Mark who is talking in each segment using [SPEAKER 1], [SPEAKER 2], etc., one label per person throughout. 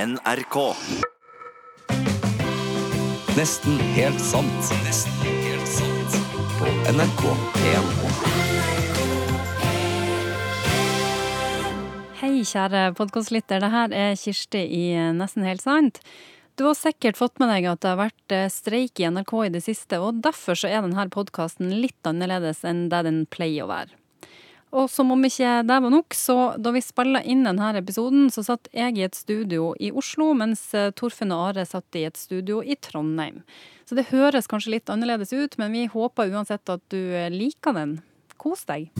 [SPEAKER 1] NRK.
[SPEAKER 2] Nesten helt sant. Nesten helt sant. På NRK P1.
[SPEAKER 3] Hei, kjære podkastlytter. Det her er Kirsti i Nesten helt sant. Du har sikkert fått med deg at det har vært eh, streik i NRK i det siste, og derfor så er denne podkasten litt annerledes enn det den pleier å være. Og som om ikke det var nok, så da vi spilla inn denne episoden, så satt jeg i et studio i Oslo, mens eh, Torfinn og Are satt i et studio i Trondheim. Så det høres kanskje litt annerledes ut, men vi håper uansett at du eh, liker den. Kos deg.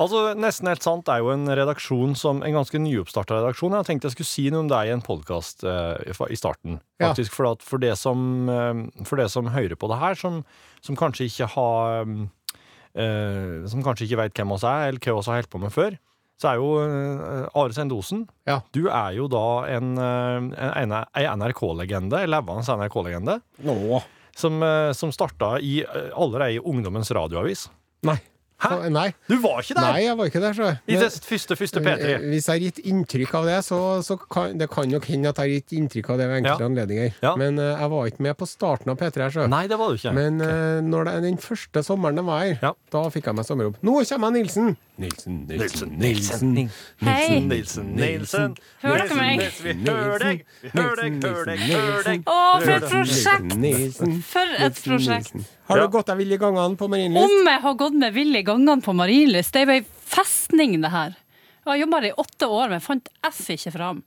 [SPEAKER 4] Altså, Nesten helt sant er jo en redaksjon som, en ganske nyoppstarta redaksjon. Jeg tenkte jeg skulle si noe om deg i en podkast i starten.
[SPEAKER 5] Ja.
[SPEAKER 4] faktisk, for, at, for, det som, eh, for det som hører på det her, som, som kanskje ikke har eh, Som kanskje ikke veit hvem oss er, eller hva vi har holdt på med før, så er jo eh, Are Sendosen
[SPEAKER 5] Ja.
[SPEAKER 4] Du er jo da en, eh, en, ei NRK-legende, en levende NRK-legende,
[SPEAKER 5] Nå.
[SPEAKER 4] som, eh, som starta i eh, allerede i Ungdommens radioavis.
[SPEAKER 5] Nei.
[SPEAKER 4] Hæ?
[SPEAKER 5] Nei.
[SPEAKER 4] Du var ikke der!
[SPEAKER 5] Nei, jeg var ikke der, så.
[SPEAKER 4] I det første, første P3.
[SPEAKER 5] Hvis jeg har gitt inntrykk av det, så, så kan det kan nok hende at jeg har gitt inntrykk av det ved enkelte
[SPEAKER 4] Ja.
[SPEAKER 5] anledninger.
[SPEAKER 4] Ja.
[SPEAKER 5] Men eh, jeg var ikke med på starten av P3 her, så.
[SPEAKER 4] Nei, det var du ikke.
[SPEAKER 5] Men eh, når det, den første sommeren det var her,
[SPEAKER 4] Ja.
[SPEAKER 5] da fikk jeg meg sommerjobb. Nå kommer Nilsen! Nilsen,
[SPEAKER 4] Nilsen,
[SPEAKER 5] Nilsen, Nilsen.
[SPEAKER 3] Hei.
[SPEAKER 4] Nilsen, Nilsen.
[SPEAKER 3] Hører dere meg?
[SPEAKER 4] Vi hører deg, vi hører deg, hører deg, hører deg.
[SPEAKER 3] Å, for et
[SPEAKER 5] Nilsen,
[SPEAKER 3] prosjekt!
[SPEAKER 5] Nilsen,
[SPEAKER 3] For et
[SPEAKER 5] Nilsen,
[SPEAKER 3] prosjekt.
[SPEAKER 5] Nilsen. Har
[SPEAKER 4] Ja.
[SPEAKER 5] du gått deg vill i gangene på Marienlyst?
[SPEAKER 3] Om jeg har gått med vill i gangene på Marienlyst, det er jo ei festning, det her. Og Jeg jobba der i åtte år, men jeg fant F ikke fram.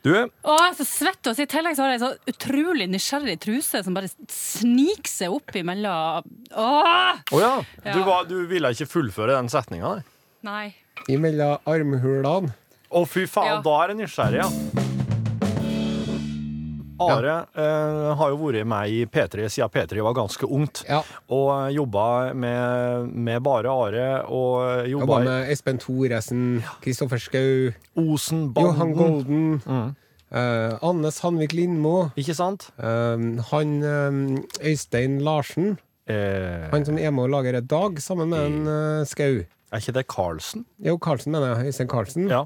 [SPEAKER 4] Du,
[SPEAKER 3] Og jeg er så svett, og så i tillegg så har jeg en så utrolig nysgjerrig truse som bare sniker seg opp imellom Åh!
[SPEAKER 4] å ja.
[SPEAKER 3] Ja.
[SPEAKER 4] Du, var, du ville ikke fullføre den setninga, nei?
[SPEAKER 3] Nei.
[SPEAKER 5] Imellom armhulene.
[SPEAKER 4] Å, fy faen,
[SPEAKER 3] Ja.
[SPEAKER 4] da er jeg nysgjerrig, ja. Are eh, har jo vært med i P3 siden P3 var ganske ungt.
[SPEAKER 5] Ja.
[SPEAKER 4] Og eh, jobba med, med bare Are, og eh,
[SPEAKER 5] Jobba
[SPEAKER 4] jobba i
[SPEAKER 5] med Espen Thoresen, Kristoffer Schou, Johan
[SPEAKER 4] Osenbanden.
[SPEAKER 5] Golden, eh, Anne Sandvik Lindmo,
[SPEAKER 4] Ikke sant?
[SPEAKER 5] eh, han eh, Øystein Larsen,
[SPEAKER 4] Eh,
[SPEAKER 5] han som er med og lager et dag sammen med en eh, Skau.
[SPEAKER 4] er ikke det Karlsen?
[SPEAKER 5] Jo, Karlsen mener jeg. Øystein Karlsen.
[SPEAKER 4] Ja.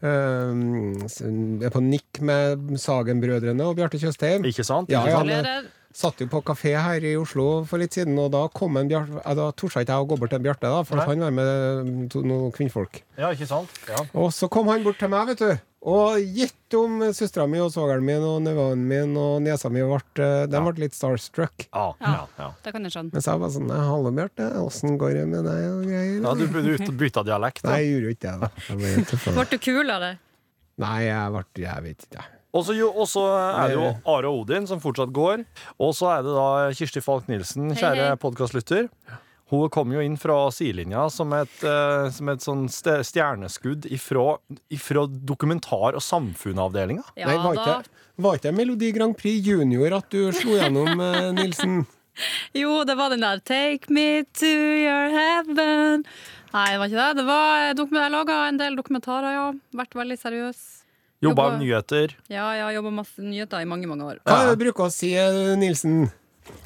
[SPEAKER 5] Eh, s- er på nikk med Sagen-brødrene og Bjarte Tjøstheim.
[SPEAKER 4] Ikke sant?
[SPEAKER 5] Ja,
[SPEAKER 4] Ikke
[SPEAKER 5] ja,
[SPEAKER 4] sant?
[SPEAKER 5] han eh, satt jo på kafé her i Oslo for litt siden, og da kom en Bjarte eh, Da torde ikke jeg å gå bort til en Bjarte, da, for
[SPEAKER 4] Nei.
[SPEAKER 5] han var med eh, to, noen kvinnfolk.
[SPEAKER 4] ja, ikke sant? Ja.
[SPEAKER 5] Og så kom han bort til meg, vet du. Og gitt om søstera mi og svogeren min og nevøen min og niesa mi ble, eh, de ble litt starstruck.
[SPEAKER 4] Ja, ja, ja.
[SPEAKER 3] Det kan jeg skjønne.
[SPEAKER 5] Mens jeg var sånn «Nei, Hallo, Bjarte. Åssen går det med deg og greier?
[SPEAKER 4] Ja, du burde ut- bytte dialekt.
[SPEAKER 5] Nei,
[SPEAKER 4] da.
[SPEAKER 5] jeg gjorde jo ikke det, da. Jeg ble helt forfra.
[SPEAKER 3] Ble du kulere?
[SPEAKER 5] Nei, jeg ble Jeg vet ikke, jeg.
[SPEAKER 4] Og så jo- og så er det jo Are Odin som fortsatt går. Og så er det da Kirsti Falk Nilsen,
[SPEAKER 3] hei.
[SPEAKER 4] kjære podkastlytter. Hun kom jo inn fra sidelinja som et, eh, som et sånn ste- stjerneskudd ifra, ifra dokumentar- og samfunnavdelinga.
[SPEAKER 3] Ja
[SPEAKER 5] Nei, var
[SPEAKER 3] da.
[SPEAKER 5] ikke, var ikke Melodi Grand Prix Junior at du slo gjennom, eh, Nilsen?
[SPEAKER 3] Jo, det var den der 'Take me to your heaven'. Nei, det var ikke det. det var dokumen- jeg laga en del dokumentarer, ja. Vært veldig seriøs.
[SPEAKER 4] Jobba
[SPEAKER 3] Jobba-
[SPEAKER 4] med nyheter.
[SPEAKER 3] Ja, jeg har jobba masse nyheter i mange, mange år.
[SPEAKER 5] Hva er det du bruker å si, eh, Nilsen?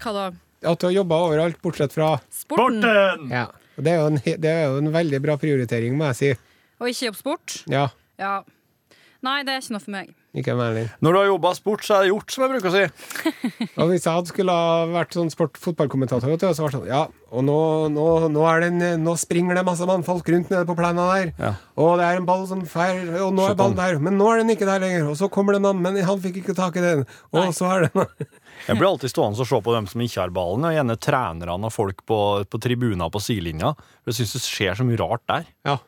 [SPEAKER 3] Hva da?
[SPEAKER 5] At du har jobba overalt, bortsett fra
[SPEAKER 3] Sporten?
[SPEAKER 5] Ja. Og Det er, jo en, he- det er jo en veldig bra prioritering, må jeg si.
[SPEAKER 3] Og ikke jobbe sport?
[SPEAKER 5] Ja.
[SPEAKER 3] Ja. Nei, det er ikke noe for meg.
[SPEAKER 5] Ikke meg heller.
[SPEAKER 4] Når du har jobba sport, så er det gjort, som jeg bruker å si.
[SPEAKER 5] Og hvis jeg hadde skulle ha vært sånn sport fotballkommentator, vet du, så var det sånn Ja, og nå, nå, nå, er det en, nå springer det masse mannfolk rundt nede på plenen der.
[SPEAKER 4] Ja.
[SPEAKER 5] Og det er en ball som fer, og nå
[SPEAKER 4] Se
[SPEAKER 5] er
[SPEAKER 4] på
[SPEAKER 5] ballen der, men nå er den ikke der lenger. Og så kommer det en annen, men han fikk ikke tak i den. Og så er det
[SPEAKER 4] Jeg blir alltid stående og se på dem som ikke har ballen, og gjerne trenerne og folk på, på tribuner på sidelinja. For jeg syns det skjer så mye rart der.
[SPEAKER 5] Ja.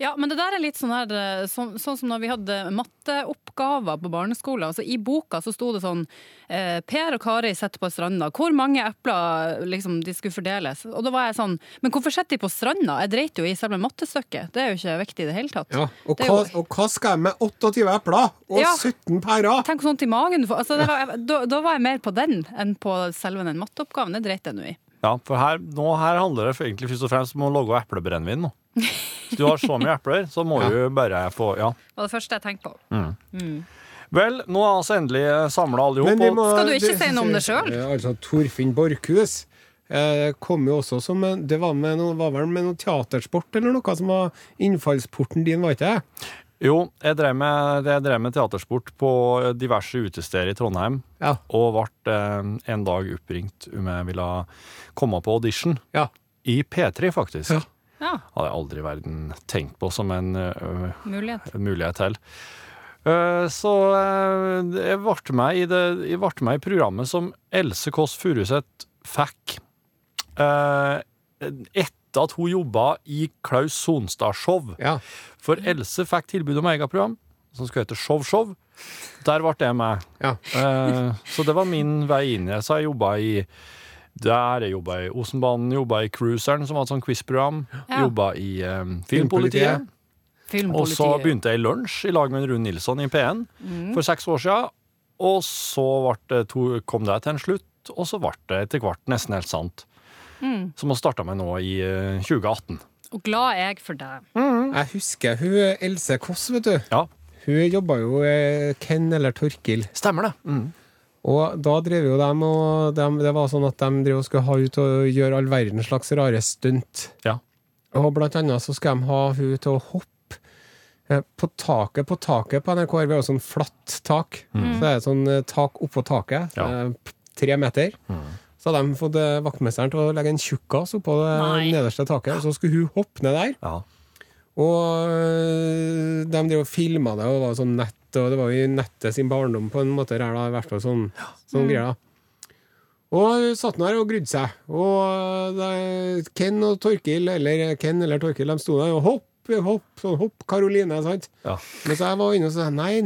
[SPEAKER 3] Ja, men det der er litt sånn her eh, Sånn, sånn som når vi hadde matteoppgaver på barneskolen. Altså, I boka så sto det sånn eh, Per og Kari sitter på stranda. Hvor mange epler liksom, de skulle fordeles? Og da var jeg sånn Men hvorfor sitter de på stranda? Jeg dreit jo i selve mattestykket. Det er jo ikke viktig i det hele tatt.
[SPEAKER 5] Og,
[SPEAKER 3] Det er
[SPEAKER 5] hva,
[SPEAKER 3] jo-
[SPEAKER 5] og hva skal jeg med 28 epler og
[SPEAKER 3] Ja.
[SPEAKER 5] 17 pærer?
[SPEAKER 3] Tenk sånt i magen du får. altså, det var, da, da var jeg mer på den enn på selve den matteoppgaven. Det dreit jeg nå i.
[SPEAKER 4] Ja, for her, nå, her handler det for egentlig først og fremst om å lage eplebrennevin nå. Hvis du har så mye epler, så må du bare få Ja.
[SPEAKER 3] Det var det første jeg tenkte på.
[SPEAKER 4] Vel, nå er altså endelig samla alle
[SPEAKER 5] Men vi
[SPEAKER 4] i hop.
[SPEAKER 5] må-
[SPEAKER 3] Skal du ikke si noe om det selv?
[SPEAKER 5] Eh, Altså, Torfinn Borchhus eh, kom jo også som en- Det var, med noe, var vel med noe teatersport eller noe som var innfallsporten din, var ikke det?
[SPEAKER 4] Jo, jeg drev med, jeg drev med teatersport på eh, diverse utesteder i Trondheim.
[SPEAKER 6] Ja.
[SPEAKER 4] Og ble eh, en dag oppringt om jeg ville komme på audition.
[SPEAKER 6] Ja.
[SPEAKER 4] I P3, faktisk.
[SPEAKER 6] Ja.
[SPEAKER 3] Ja,
[SPEAKER 4] Hadde jeg aldri i verden tenkt på som en ø,
[SPEAKER 3] mulighet.
[SPEAKER 4] mulighet til. Eh, Så eh, jeg ble med i, det, jeg ble med i programmet som Else Kåss Furuseth fikk eh, etter at hun jobba i Klaus Sonstad-show.
[SPEAKER 6] Ja.
[SPEAKER 4] For Else fikk tilbud om eget program som skulle hete Show Show. Der ble jeg med.
[SPEAKER 6] Ja.
[SPEAKER 4] Eh, Så det var min vei inn i det. Så jeg jobba i der jeg jobba i Osenbanen, jobba i Cruiseren, som var et sånt quiz-program.
[SPEAKER 3] Ja.
[SPEAKER 4] Jobba i eh,
[SPEAKER 5] Filmpolitiet.
[SPEAKER 4] Filmpolitiet. Og
[SPEAKER 3] Filmpolitiet. Mm.
[SPEAKER 4] så begynte jeg i lunsj i lag med Rune Nilsson i P1 for seks år siden. Og så vart det to, kom det til en slutt, og så ble det etter hvert nesten helt sant.
[SPEAKER 3] Mm.
[SPEAKER 4] Som vi starta med nå i eh, 2018.
[SPEAKER 3] Og glad er jeg for deg.
[SPEAKER 5] Jeg husker hun Else Kåss, vet du.
[SPEAKER 4] Ja,
[SPEAKER 5] Hun jobba jo eh, Ken eller Torkil.
[SPEAKER 4] stemmer det. Mm.
[SPEAKER 5] Og da drev jo dem og dem, Det var sånn at de drev og skulle ha ut og gjøre all verdens slags rare stunt.
[SPEAKER 4] Ja.
[SPEAKER 5] Og blant annet så skal de ha hun til å hoppe eh, på taket på taket på NRK. Vi har jo sånn flatt tak. Så det er et sånn eh, tak oppå taket.
[SPEAKER 4] Ja.
[SPEAKER 5] eh, p- Tre meter. Så hadde de fått eh, vaktmesteren til å legge en tjukkas oppå det
[SPEAKER 3] Nei.
[SPEAKER 5] nederste taket. Og så skulle hun hoppe ned der.
[SPEAKER 4] Ja.
[SPEAKER 5] Og øh, de drev og filma det, og det var sånn nett, og det var jo i nettet sin barndom på en måte der, da, i hvert fall sånn, sånn greier. da. Og hun satt nå her og grudde seg. Og eh, det, Ken og Torkil, eller Ken eller Torkil, de sto der og hopp, hopp, sånn hopp, Karoline, sant.
[SPEAKER 4] Ja.
[SPEAKER 5] Men så jeg var inne og sa nei,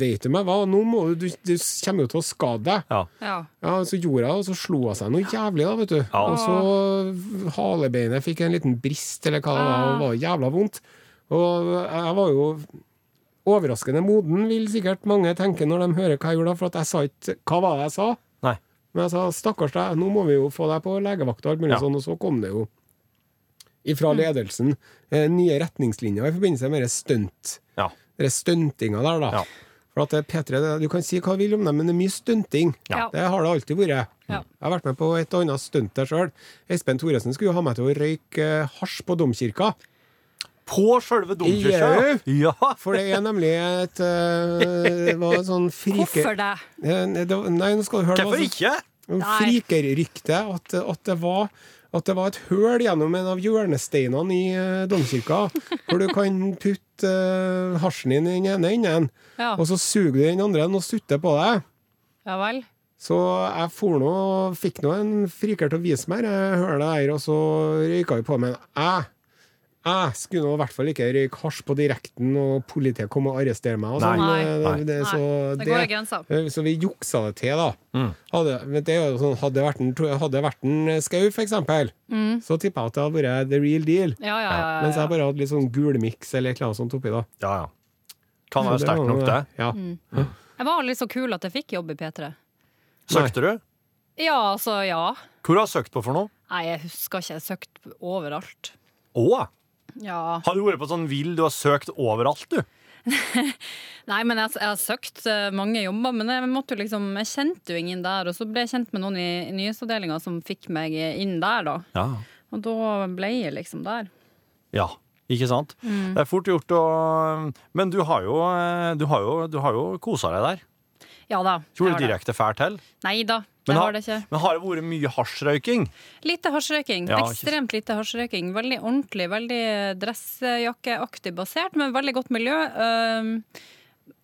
[SPEAKER 5] vet du meg hva, nå må du, du, du kommer jo til å skade deg.
[SPEAKER 4] Ja.
[SPEAKER 3] Ja.
[SPEAKER 5] Ja, så gjorde jeg det, og så slo jeg seg noe jævlig, da, vet du.
[SPEAKER 4] Ja.
[SPEAKER 5] Og så halebeinet fikk en liten brist, eller hva det var, og det var jævla vondt. Og jeg var jo overraskende moden, vil sikkert mange tenke når de hører hva jeg gjorde, da, for at jeg sa ikke Hva var det jeg sa?
[SPEAKER 4] Nei.
[SPEAKER 5] Men jeg sa stakkars deg, nå må vi jo få deg på legevakt og alt mulig
[SPEAKER 4] Ja.
[SPEAKER 5] sånn, og så kom det jo ifra ledelsen eh, nye retningslinjer i forbindelse med det stunt.
[SPEAKER 4] Ja.
[SPEAKER 5] Det er stuntinga der, da.
[SPEAKER 4] Ja.
[SPEAKER 5] For at det er P3, det, du kan si hva du vil om det, men det er mye stunting.
[SPEAKER 3] Ja.
[SPEAKER 5] Det har det alltid vært.
[SPEAKER 3] Ja.
[SPEAKER 5] Jeg har vært med på et og annet stunt der sjøl. Espen Thoresen skulle jo ha meg til å røyke eh, hasj på domkirka.
[SPEAKER 4] På sjølve domkirka! eh, Ja.
[SPEAKER 5] For det er nemlig et eh, Det var en sånn frike...
[SPEAKER 3] Hvorfor det?
[SPEAKER 5] Eh, det var- Nei, nå skal du høre. det var
[SPEAKER 4] Hvorfor
[SPEAKER 5] sånn-
[SPEAKER 4] ikke?
[SPEAKER 5] om
[SPEAKER 3] Nei.
[SPEAKER 5] frikerryktet at, at, det var, at det var et høl gjennom en av hjørnesteinene i eh, domkirka, hvor du kan putte eh, hasjen din i den ene enden,
[SPEAKER 3] Ja.
[SPEAKER 5] og så suger du den andre enden og sutter på deg.
[SPEAKER 3] ja vel.
[SPEAKER 5] Så jeg for nå og fikk nå en friker til å vise meg det hølet der, og så røyka vi på. Men jeg, jeg skulle nå i hvert fall ikke røyke hasj på direkten, og politiet kom og arrestere meg. Og
[SPEAKER 4] Nei.
[SPEAKER 5] sånn.
[SPEAKER 3] Nei.
[SPEAKER 5] Eh, Det, det,
[SPEAKER 3] Nei,
[SPEAKER 5] så
[SPEAKER 3] det
[SPEAKER 5] det- Eh,
[SPEAKER 3] går i grensa.
[SPEAKER 5] så vi juksa det til, da.
[SPEAKER 4] Mm.
[SPEAKER 5] Hadde, men det er jo sånn, hadde det vært en, hadde det vært en eh, skau, for eksempel, så tippa jeg at det hadde vært the real deal.
[SPEAKER 3] Ja, ja, Mm. ja.
[SPEAKER 5] Mens jeg bare hadde litt sånn gulmiks eller et eller annet sånt oppi da.
[SPEAKER 4] Ja, ja. Kan være
[SPEAKER 5] Så
[SPEAKER 4] sterkt
[SPEAKER 5] var
[SPEAKER 4] nok,
[SPEAKER 5] jo-
[SPEAKER 4] det.
[SPEAKER 5] Ja.
[SPEAKER 3] Mm. Jeg var aldri så kul at jeg fikk jobb i P3.
[SPEAKER 4] Søkte du?
[SPEAKER 3] Ja, altså, ja.
[SPEAKER 4] Hvor har du søkt på for noe?
[SPEAKER 3] Nei, jeg husker ikke. Jeg søkte overalt.
[SPEAKER 4] Å!
[SPEAKER 3] Ja.
[SPEAKER 4] Har du vært på sånn vill? Du har søkt overalt, du.
[SPEAKER 3] Nei, men jeg, jeg har søkt eh, mange jobber, men jeg, måtte jo liksom, jeg kjente jo ingen der. Og så ble jeg kjent med noen i i nyhetsavdelinga som fikk meg inn der, da.
[SPEAKER 4] Ja.
[SPEAKER 3] Og da ble jeg liksom der.
[SPEAKER 4] Ja, ikke sant?
[SPEAKER 3] Mm.
[SPEAKER 4] Det er fort gjort å Men du har jo, eh, du har jo, du har jo kosa deg der.
[SPEAKER 3] Ja da. jeg
[SPEAKER 4] Gjorde
[SPEAKER 3] har
[SPEAKER 4] du
[SPEAKER 3] det.
[SPEAKER 4] direkte fælt til?
[SPEAKER 3] Nei da,
[SPEAKER 4] Men
[SPEAKER 3] jeg
[SPEAKER 4] ha-
[SPEAKER 3] har det ikke.
[SPEAKER 4] Men har det vært mye hasjrøyking?
[SPEAKER 3] Lite hasjrøyking.
[SPEAKER 4] Ja, ikke sant.
[SPEAKER 3] Ekstremt lite hasjrøyking. Veldig ordentlig, veldig dressjakkeaktig basert, men veldig godt miljø. øhm,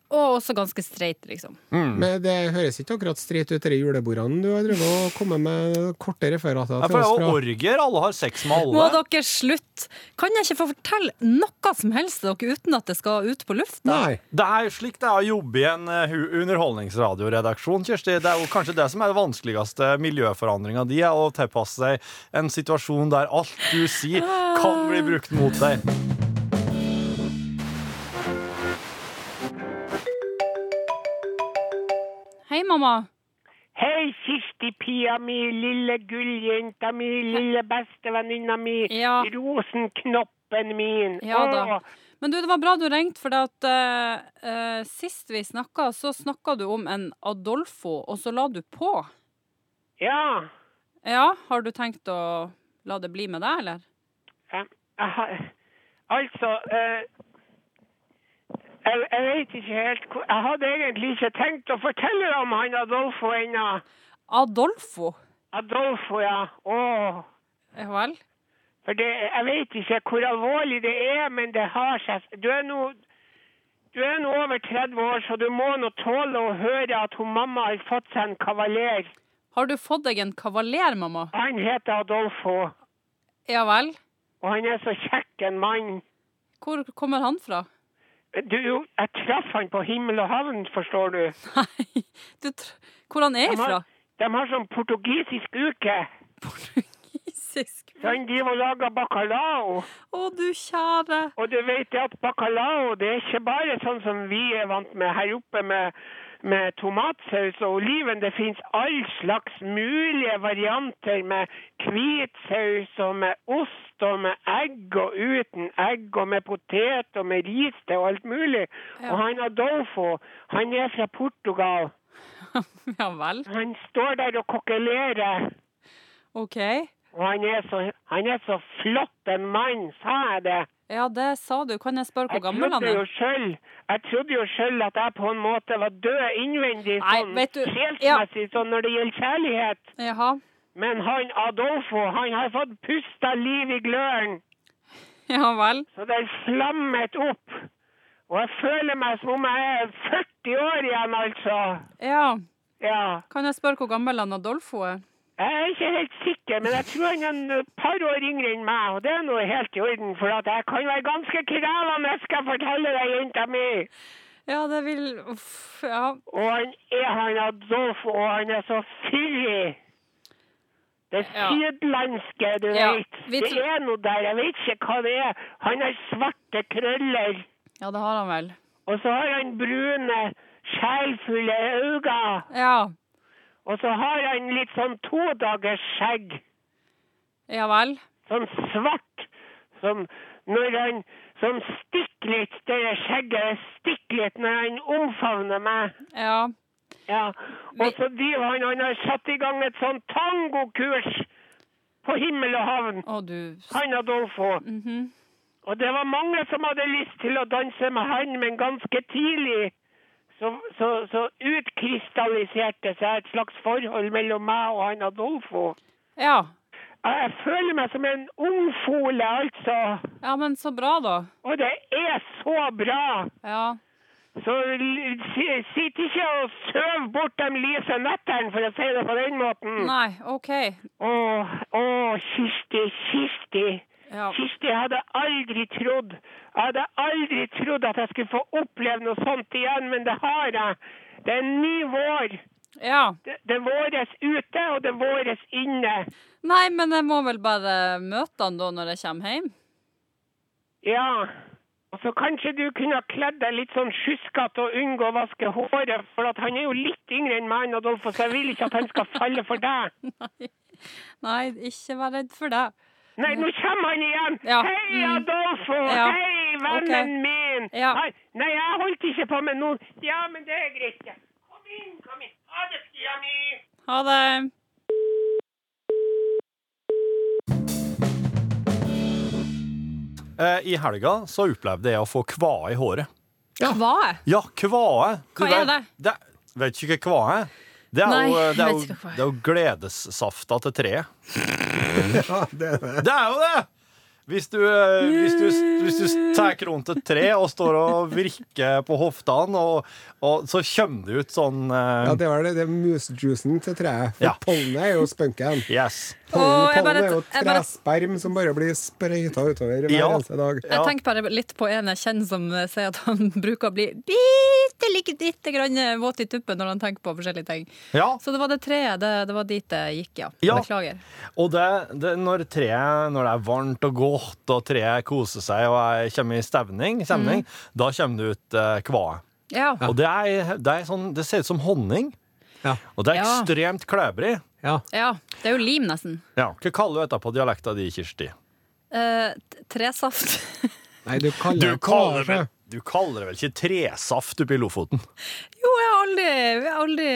[SPEAKER 3] og også ganske streit, liksom.
[SPEAKER 4] Mm.
[SPEAKER 5] Men det høres ikke akkurat streit ut, de julebordene du har drevet og kommet med korte referater
[SPEAKER 4] Ja, for
[SPEAKER 5] til
[SPEAKER 4] det
[SPEAKER 5] oss
[SPEAKER 4] er jo
[SPEAKER 5] fra.
[SPEAKER 4] orger. Alle har sex med
[SPEAKER 3] Må
[SPEAKER 4] alle.
[SPEAKER 3] dere slutte! Kan jeg ikke få fortelle noe som helst til dere uten at det skal ut på lufta?
[SPEAKER 5] Nei.
[SPEAKER 4] Det er jo slik det er å jobbe i en eh, hu- underholdningsradioredaksjon, Kjersti. Det er jo kanskje det som er det vanskeligste miljøforandringa di, er å tilpasse seg en situasjon der alt du sier, kan bli brukt mot deg.
[SPEAKER 3] Hei, mamma.
[SPEAKER 7] Hei, Kirsti-pia mi, lille gulljenta mi, lille bestevenninna mi,
[SPEAKER 3] Ja.
[SPEAKER 7] rosenknoppen min.
[SPEAKER 3] Ja da.
[SPEAKER 7] Åh,
[SPEAKER 3] Men du, det var bra du ringte, for at, eh, eh, sist vi snakka, så snakka du om en Adolfo, og så la du på.
[SPEAKER 7] ja.
[SPEAKER 3] Ja, har du tenkt å la det bli med deg, eller?
[SPEAKER 7] Jeg- jeg har- Altså eh, Jeg, jeg vet ikke helt hvor Jeg hadde egentlig ikke tenkt å fortelle om han Adolfo ennå.
[SPEAKER 3] Adolfo?
[SPEAKER 7] Adolfo, ja. Åh.
[SPEAKER 3] Ja vel?
[SPEAKER 7] For det, jeg vet ikke hvor alvorlig det er, men det har seg Du er nå du er nå over 30 år, så du må nå tåle å høre at hun mamma har fått seg en kavaler.
[SPEAKER 3] Har du fått deg en kavaler, mamma?
[SPEAKER 7] Han heter Adolfo,
[SPEAKER 3] Ja vel?
[SPEAKER 7] og han er så kjekk en mann.
[SPEAKER 3] Hvor kommer han fra?
[SPEAKER 7] Du, jeg traff han på himmel og havn, forstår du.
[SPEAKER 3] Nei, du tr... Hvor han er
[SPEAKER 7] De har,
[SPEAKER 3] ifra?
[SPEAKER 7] de har sånn portugisisk uke.
[SPEAKER 3] Portugisisk.
[SPEAKER 7] Så han driver og lager bacalao.
[SPEAKER 3] Å, du kjære.
[SPEAKER 7] Og du vet det at bacalao det er ikke bare sånn som vi er vant med her oppe med, med tomatsaus og oliven. Det fins all slags mulige varianter med hvitsaus og med ost og med egg og uten egg og med potet og med ris til og alt mulig.
[SPEAKER 3] Ja.
[SPEAKER 7] Og han Adolfo, han er fra Portugal.
[SPEAKER 3] Ja vel.
[SPEAKER 7] Han står der og kokkelerer.
[SPEAKER 3] OK.
[SPEAKER 7] Og han er så, han er så flott en mann, sa jeg det.
[SPEAKER 3] Ja, det sa du. Kan jeg spørre
[SPEAKER 7] Jeg
[SPEAKER 3] hvor gammel han
[SPEAKER 7] trodde jo
[SPEAKER 3] er?
[SPEAKER 7] selv, jeg trodde jo selv at jeg på en måte var død innvendig,
[SPEAKER 3] Nei,
[SPEAKER 7] sånn
[SPEAKER 3] vet du,
[SPEAKER 7] sjelsmessig, sånn når det gjelder kjærlighet.
[SPEAKER 3] Jaha.
[SPEAKER 7] Men han Adolfo, han har fått pusta liv i gløren,
[SPEAKER 3] Ja vel.
[SPEAKER 7] så det er flammet opp. Og jeg føler meg som om jeg er 40 år igjen, altså.
[SPEAKER 3] Ja.
[SPEAKER 7] Ja.
[SPEAKER 3] Kan jeg spørre hvor gammel han Adolfo er?
[SPEAKER 7] Jeg er ikke helt sikker, men jeg tror han er en par år yngre enn meg, og det er noe helt i orden, for at jeg kan være ganske krevende, skal jeg fortelle deg, jenta mi.
[SPEAKER 3] Ja, det vil Uff, ja.
[SPEAKER 7] Og han er han Adolfo, og han er så fyrig. Det
[SPEAKER 3] Ja.
[SPEAKER 7] sydlandske, du
[SPEAKER 3] Ja,
[SPEAKER 7] vet.
[SPEAKER 3] vi
[SPEAKER 7] Det
[SPEAKER 3] tro-
[SPEAKER 7] er noe der, jeg vet ikke hva det er. Han har svarte krøller,
[SPEAKER 3] Ja, det har han vel.
[SPEAKER 7] og så har han brune, skjælfulle øyne,
[SPEAKER 3] Ja.
[SPEAKER 7] og så har han litt sånn todagers skjegg.
[SPEAKER 3] Ja vel.
[SPEAKER 7] sånn svart, som når han som stikker litt, det der skjegget stikker litt når han omfavner meg.
[SPEAKER 3] Ja.
[SPEAKER 7] Ja.
[SPEAKER 3] Vi-
[SPEAKER 7] Og så driver han, han har satt i gang et sånn tangokurs på himmel og havn,
[SPEAKER 3] Å, du
[SPEAKER 7] han Adolfo.
[SPEAKER 3] Mhm.
[SPEAKER 7] Og det var mange som hadde lyst til å danse med han, men ganske tidlig så, så, så utkrystalliserte seg et slags forhold mellom meg og han Adolfo.
[SPEAKER 3] Ja.
[SPEAKER 7] Jeg jeg føler meg som en ungfole, altså.
[SPEAKER 3] Ja, men så bra, da.
[SPEAKER 7] Og det er så bra!
[SPEAKER 3] Ja.
[SPEAKER 7] Så l- si- sitt ikke og søv bort de lyse nettene, for å si det på den måten.
[SPEAKER 3] Nei, OK.
[SPEAKER 7] Å, å, Kirsti, Kirsti.
[SPEAKER 3] Ja.
[SPEAKER 7] Kirsti, jeg hadde aldri trodd Jeg hadde aldri trodd at jeg skulle få oppleve noe sånt igjen, men det har jeg. Det er en ny vår.
[SPEAKER 3] ja.
[SPEAKER 7] Det, det våres ute, og det våres inne.
[SPEAKER 3] Nei, men jeg må vel bare møte han da når jeg kommer hjem.
[SPEAKER 7] Ja. Og så kanskje du kunne ha kledd deg litt sånn sjuskete og unngå å vaske håret, for at han er jo litt yngre enn meg, Adolfo, så jeg vil ikke at han skal falle for deg.
[SPEAKER 3] Nei, ikke vær redd for det.
[SPEAKER 7] Nei, nå kommer han igjen!
[SPEAKER 3] Mm. Ja,
[SPEAKER 7] Hei,
[SPEAKER 3] mm.
[SPEAKER 7] Adolfo!
[SPEAKER 3] Ja,
[SPEAKER 7] Hei, vennen
[SPEAKER 3] ok.
[SPEAKER 7] min!
[SPEAKER 3] Ja.
[SPEAKER 7] Hei, Nei, jeg holdt ikke på med noen. Ja, men det er greit, ja. Kom inn, kom inn. Ha det, skia mi!
[SPEAKER 3] Ha det.
[SPEAKER 4] Eh, I helga så opplevde jeg å få kvae i håret.
[SPEAKER 3] Hva?
[SPEAKER 4] Ja, kvae. Du
[SPEAKER 3] Hva er
[SPEAKER 4] vet- det- Vet ikke hva kvae er? Det er,
[SPEAKER 3] Nei,
[SPEAKER 4] jo, det, er
[SPEAKER 3] jeg
[SPEAKER 4] jo,
[SPEAKER 3] vet ikke hva kvae er.
[SPEAKER 4] det er jo gledessafta til treet.
[SPEAKER 5] Ja, det er det.
[SPEAKER 4] Det er jo det! Hvis du, eh, hvis du, hvis du tar rundt et tre og står og virker på hoftene, og, og så kommer det ut sånn eh,
[SPEAKER 5] Ja, det var det. Det er musjuicen til treet. For
[SPEAKER 4] Ja.
[SPEAKER 5] pollenet er jo spunken.
[SPEAKER 4] Yes.
[SPEAKER 3] Åh, jeg
[SPEAKER 5] Pollen
[SPEAKER 3] bare-
[SPEAKER 5] er jo
[SPEAKER 3] jeg bare-
[SPEAKER 5] tresperm som bare blir sprøyta utover hver
[SPEAKER 4] Ja.
[SPEAKER 5] eneste dag.
[SPEAKER 4] Ja.
[SPEAKER 3] Jeg tenker bare litt på en jeg kjenner som eh, sier at han bruker å bli bitte like bitte grann eh, våt i tuppen når han tenker på forskjellige ting.
[SPEAKER 4] Ja.
[SPEAKER 3] Så det var det treet. Det, det var dit det gikk, ja.
[SPEAKER 4] Ja.
[SPEAKER 3] Beklager.
[SPEAKER 4] Og det, det, når, treet, når det er varmt og godt, og treet koser seg og er- kommer i stevning, stemning,
[SPEAKER 3] Mm.
[SPEAKER 4] da kommer det ut eh, kvae.
[SPEAKER 3] Ja.
[SPEAKER 4] Og det, er, det, er sånn, det ser ut som honning,
[SPEAKER 5] Ja.
[SPEAKER 4] og det er
[SPEAKER 3] Ja.
[SPEAKER 4] ekstremt klebrig.
[SPEAKER 3] ja. Det er jo lim, nesten.
[SPEAKER 4] Ja. Hva kaller du dette på dialekta di, Kirsti?
[SPEAKER 3] Eh, t- tresaft.
[SPEAKER 5] Nei, du kaller det kvarse.
[SPEAKER 4] du kaller det vel ikke tresaft oppe i Lofoten?
[SPEAKER 3] jo, jeg har aldri, jeg har aldri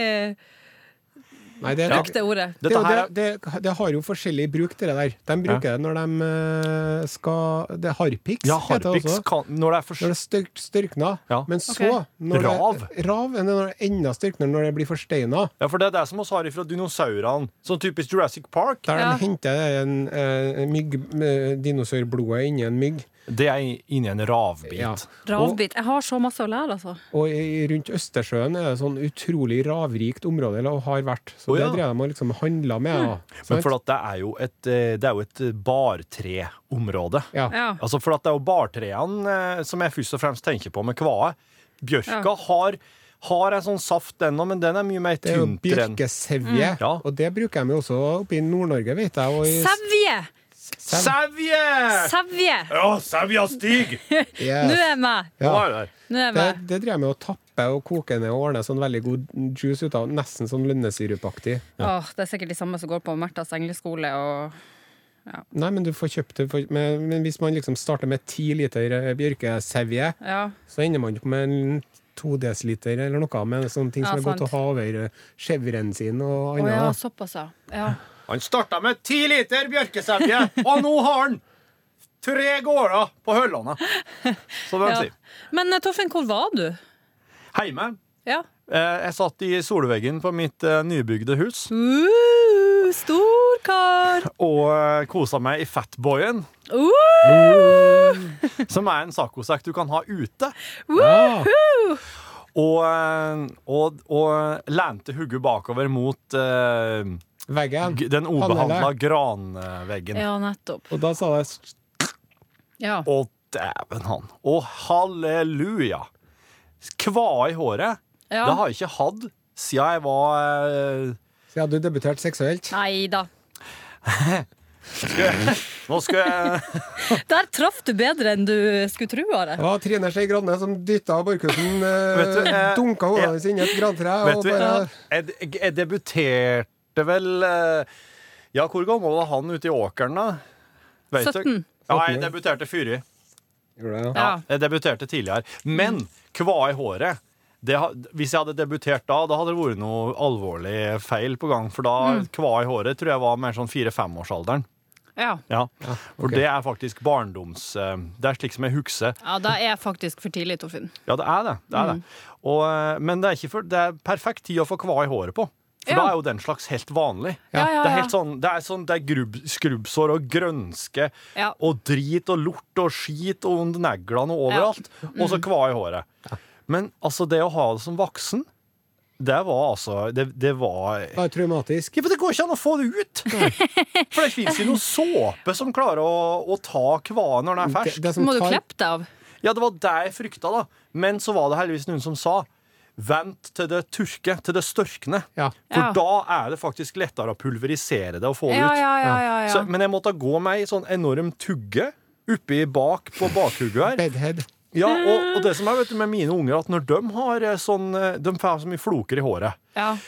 [SPEAKER 5] Nei, det, det,
[SPEAKER 3] Brukte ordet.
[SPEAKER 5] det,
[SPEAKER 4] Dette
[SPEAKER 5] er jo-
[SPEAKER 4] her,
[SPEAKER 5] det, det, det har jo forskjellig bruk, det der. De bruker det når de eh, skal Det er harpiks,
[SPEAKER 4] ja,
[SPEAKER 5] heter det
[SPEAKER 4] harpiks
[SPEAKER 5] også.
[SPEAKER 4] kan Når det er
[SPEAKER 5] Når
[SPEAKER 4] for
[SPEAKER 5] det stør, størkna.
[SPEAKER 4] Ja.
[SPEAKER 5] Men så når
[SPEAKER 4] Rav.
[SPEAKER 5] Det, rav er når det enda størkner når det blir forsteina.
[SPEAKER 4] Ja, for det er det som oss har ifra dinosaurene. Sånn typisk Jurassic Park.
[SPEAKER 5] Der
[SPEAKER 3] Ja.
[SPEAKER 5] de henter en, eh, mygg, eh, dinosaur-blodet inni en mygg.
[SPEAKER 4] Det er inni en ravbit.
[SPEAKER 5] Ja. Og,
[SPEAKER 3] Ravbit. Jeg har så masse å lære, altså.
[SPEAKER 5] og i- rundt Østersjøen er det sånn utrolig ravrikt område, eller har vært. Så
[SPEAKER 4] Å, ja.
[SPEAKER 5] det drev de og liksom handla med. Sånn da.
[SPEAKER 4] Men
[SPEAKER 5] Sant?
[SPEAKER 4] for at det er jo et, eh, det er jo et bartreområde.
[SPEAKER 5] ja.
[SPEAKER 3] Ja.
[SPEAKER 4] Altså for at det er jo bartrene eh, som jeg først og fremst tenker på med kvae. Bjørka har, har en sånn saft den òg, men den er mye mer
[SPEAKER 5] Det er jo
[SPEAKER 4] tynnere enn
[SPEAKER 5] bjørkesevje,
[SPEAKER 3] Mm.
[SPEAKER 4] Ja.
[SPEAKER 5] og det bruker de jo også oppe i Nord-Norge, vet jeg. Og i
[SPEAKER 3] Sevje!
[SPEAKER 4] Sevje!
[SPEAKER 3] Sevje!
[SPEAKER 4] Ja, sevja stig!
[SPEAKER 5] Yes.
[SPEAKER 3] Nå er jeg med!
[SPEAKER 4] Nå
[SPEAKER 5] Ja.
[SPEAKER 4] er det der.
[SPEAKER 3] Nå er jeg
[SPEAKER 5] Det,
[SPEAKER 3] med.
[SPEAKER 5] det drev jeg med å tappe og koke ned og ordne sånn veldig god juice ut av, nesten sånn lønnesirupaktig.
[SPEAKER 3] Åh, det er sikkert de samme som går på Märthas engleskole og
[SPEAKER 5] Nei, men du får kjøpt det for, men, men hvis man liksom starter med ti liter eh, bjørkesevje,
[SPEAKER 3] Ja.
[SPEAKER 5] så ender man opp med en to desiliter eller noe med sånne ting
[SPEAKER 3] Ja,
[SPEAKER 5] som er godt å
[SPEAKER 3] sant.
[SPEAKER 5] ha over eh, chèvren sin
[SPEAKER 3] Å
[SPEAKER 5] og annet.
[SPEAKER 3] ja,
[SPEAKER 5] da.
[SPEAKER 3] såpass, ja. ja.
[SPEAKER 4] Han starta med ti liter bjørkesevje, og nå har han tre gårder på Høllane. Så vil han
[SPEAKER 3] Ja. Men eh, Torfinn, hvor var du?
[SPEAKER 4] si. Heime.
[SPEAKER 3] Ja.
[SPEAKER 4] Eh, jeg satt i solveggen på mitt eh, nybygde hus
[SPEAKER 3] Uh, Storkar!
[SPEAKER 4] og eh, kosa meg i Fatboyen,
[SPEAKER 3] Uh,
[SPEAKER 4] som er en saccosekk du kan ha ute.
[SPEAKER 5] Ja.
[SPEAKER 4] Og, eh, og, og lente hugget bakover mot eh,
[SPEAKER 5] Veggen.
[SPEAKER 4] g- den obehandla granveggen.
[SPEAKER 3] ja, nettopp.
[SPEAKER 5] Og da sa jeg s-
[SPEAKER 3] Ja.
[SPEAKER 4] Å, dæven han. Å, halleluja. Kva i håret.
[SPEAKER 3] Ja.
[SPEAKER 4] Det har jeg ikke hatt siden jeg var eh,
[SPEAKER 5] så jeg hadde du debutert seksuelt.
[SPEAKER 3] Nei da.
[SPEAKER 4] Nå skal jeg
[SPEAKER 3] Der traff du bedre enn du skulle tro, Are.
[SPEAKER 5] Det var Trine Skei Grande som dytta Borchhusen,
[SPEAKER 4] Vet du,
[SPEAKER 5] eh,
[SPEAKER 4] eh,
[SPEAKER 5] dunka hodet
[SPEAKER 4] ja.
[SPEAKER 5] hennes inn i et grantre.
[SPEAKER 4] Vet
[SPEAKER 5] og
[SPEAKER 4] du, eh,
[SPEAKER 5] bare-
[SPEAKER 4] jeg, jeg, jeg debuterte vel eh, Ja, hvor gammel var han ute i åkeren, da? Vet du?
[SPEAKER 3] 17.
[SPEAKER 4] Ja, jeg debuterte fyrig.
[SPEAKER 5] Gjorde jeg, ja.
[SPEAKER 3] Ja.
[SPEAKER 4] Jeg Eh, debuterte tidligere. Men kva i håret det, ha- Hvis jeg hadde debutert da, da hadde det vært noe alvorlig feil på gang. For da kva i håret tror jeg var mer sånn fire-femårsalderen.
[SPEAKER 3] Ja.
[SPEAKER 4] Ja. For
[SPEAKER 5] ok.
[SPEAKER 4] det er faktisk barndoms... eh, Det er slik som jeg husker.
[SPEAKER 3] ja, da er jeg faktisk for tidlig, Torfinn.
[SPEAKER 4] Ja, det er det. det, er
[SPEAKER 3] Mm.
[SPEAKER 4] det. Og, eh, men det er, ikke for, det er perfekt tid å få kva i håret på. For
[SPEAKER 3] Ja.
[SPEAKER 4] da er jo den slags helt vanlig.
[SPEAKER 3] Ja, ja,
[SPEAKER 4] Det er
[SPEAKER 3] ja.
[SPEAKER 4] helt sånn, det er, sånn, det er grubb, skrubbsår og grønske
[SPEAKER 3] Ja.
[SPEAKER 4] og drit og lort og skit og ond neglene og overalt. Og
[SPEAKER 3] Mm.
[SPEAKER 4] så kva i håret. Men altså, det å ha det som voksen, det var altså Det, det var
[SPEAKER 5] Det var traumatisk.
[SPEAKER 4] ja, men Det går ikke an å få det ut! For det fins jo noe såpe som klarer å, å ta kvaen når den er fersk.
[SPEAKER 5] Det, det
[SPEAKER 3] Så
[SPEAKER 5] som
[SPEAKER 3] må du
[SPEAKER 5] tar-
[SPEAKER 3] klippe deg av.
[SPEAKER 4] Ja, det var det jeg frykta, da. Men så var det heldigvis noen som sa Vent til det tørker, til det størkner.
[SPEAKER 5] Ja.
[SPEAKER 4] For
[SPEAKER 3] Ja.
[SPEAKER 4] da er det faktisk lettere å pulverisere det og få det
[SPEAKER 3] Ja,
[SPEAKER 4] ut.
[SPEAKER 3] ja, ja. ja, ja.
[SPEAKER 4] Så, men jeg måtte gå med ei sånn enorm tugge oppi bak på bakhugget her.
[SPEAKER 5] Bedhead.
[SPEAKER 4] Ja, og, og det som er vet du, med mine unger, at når de har eh, sånn eh, De får så mye floker i håret.
[SPEAKER 3] ja.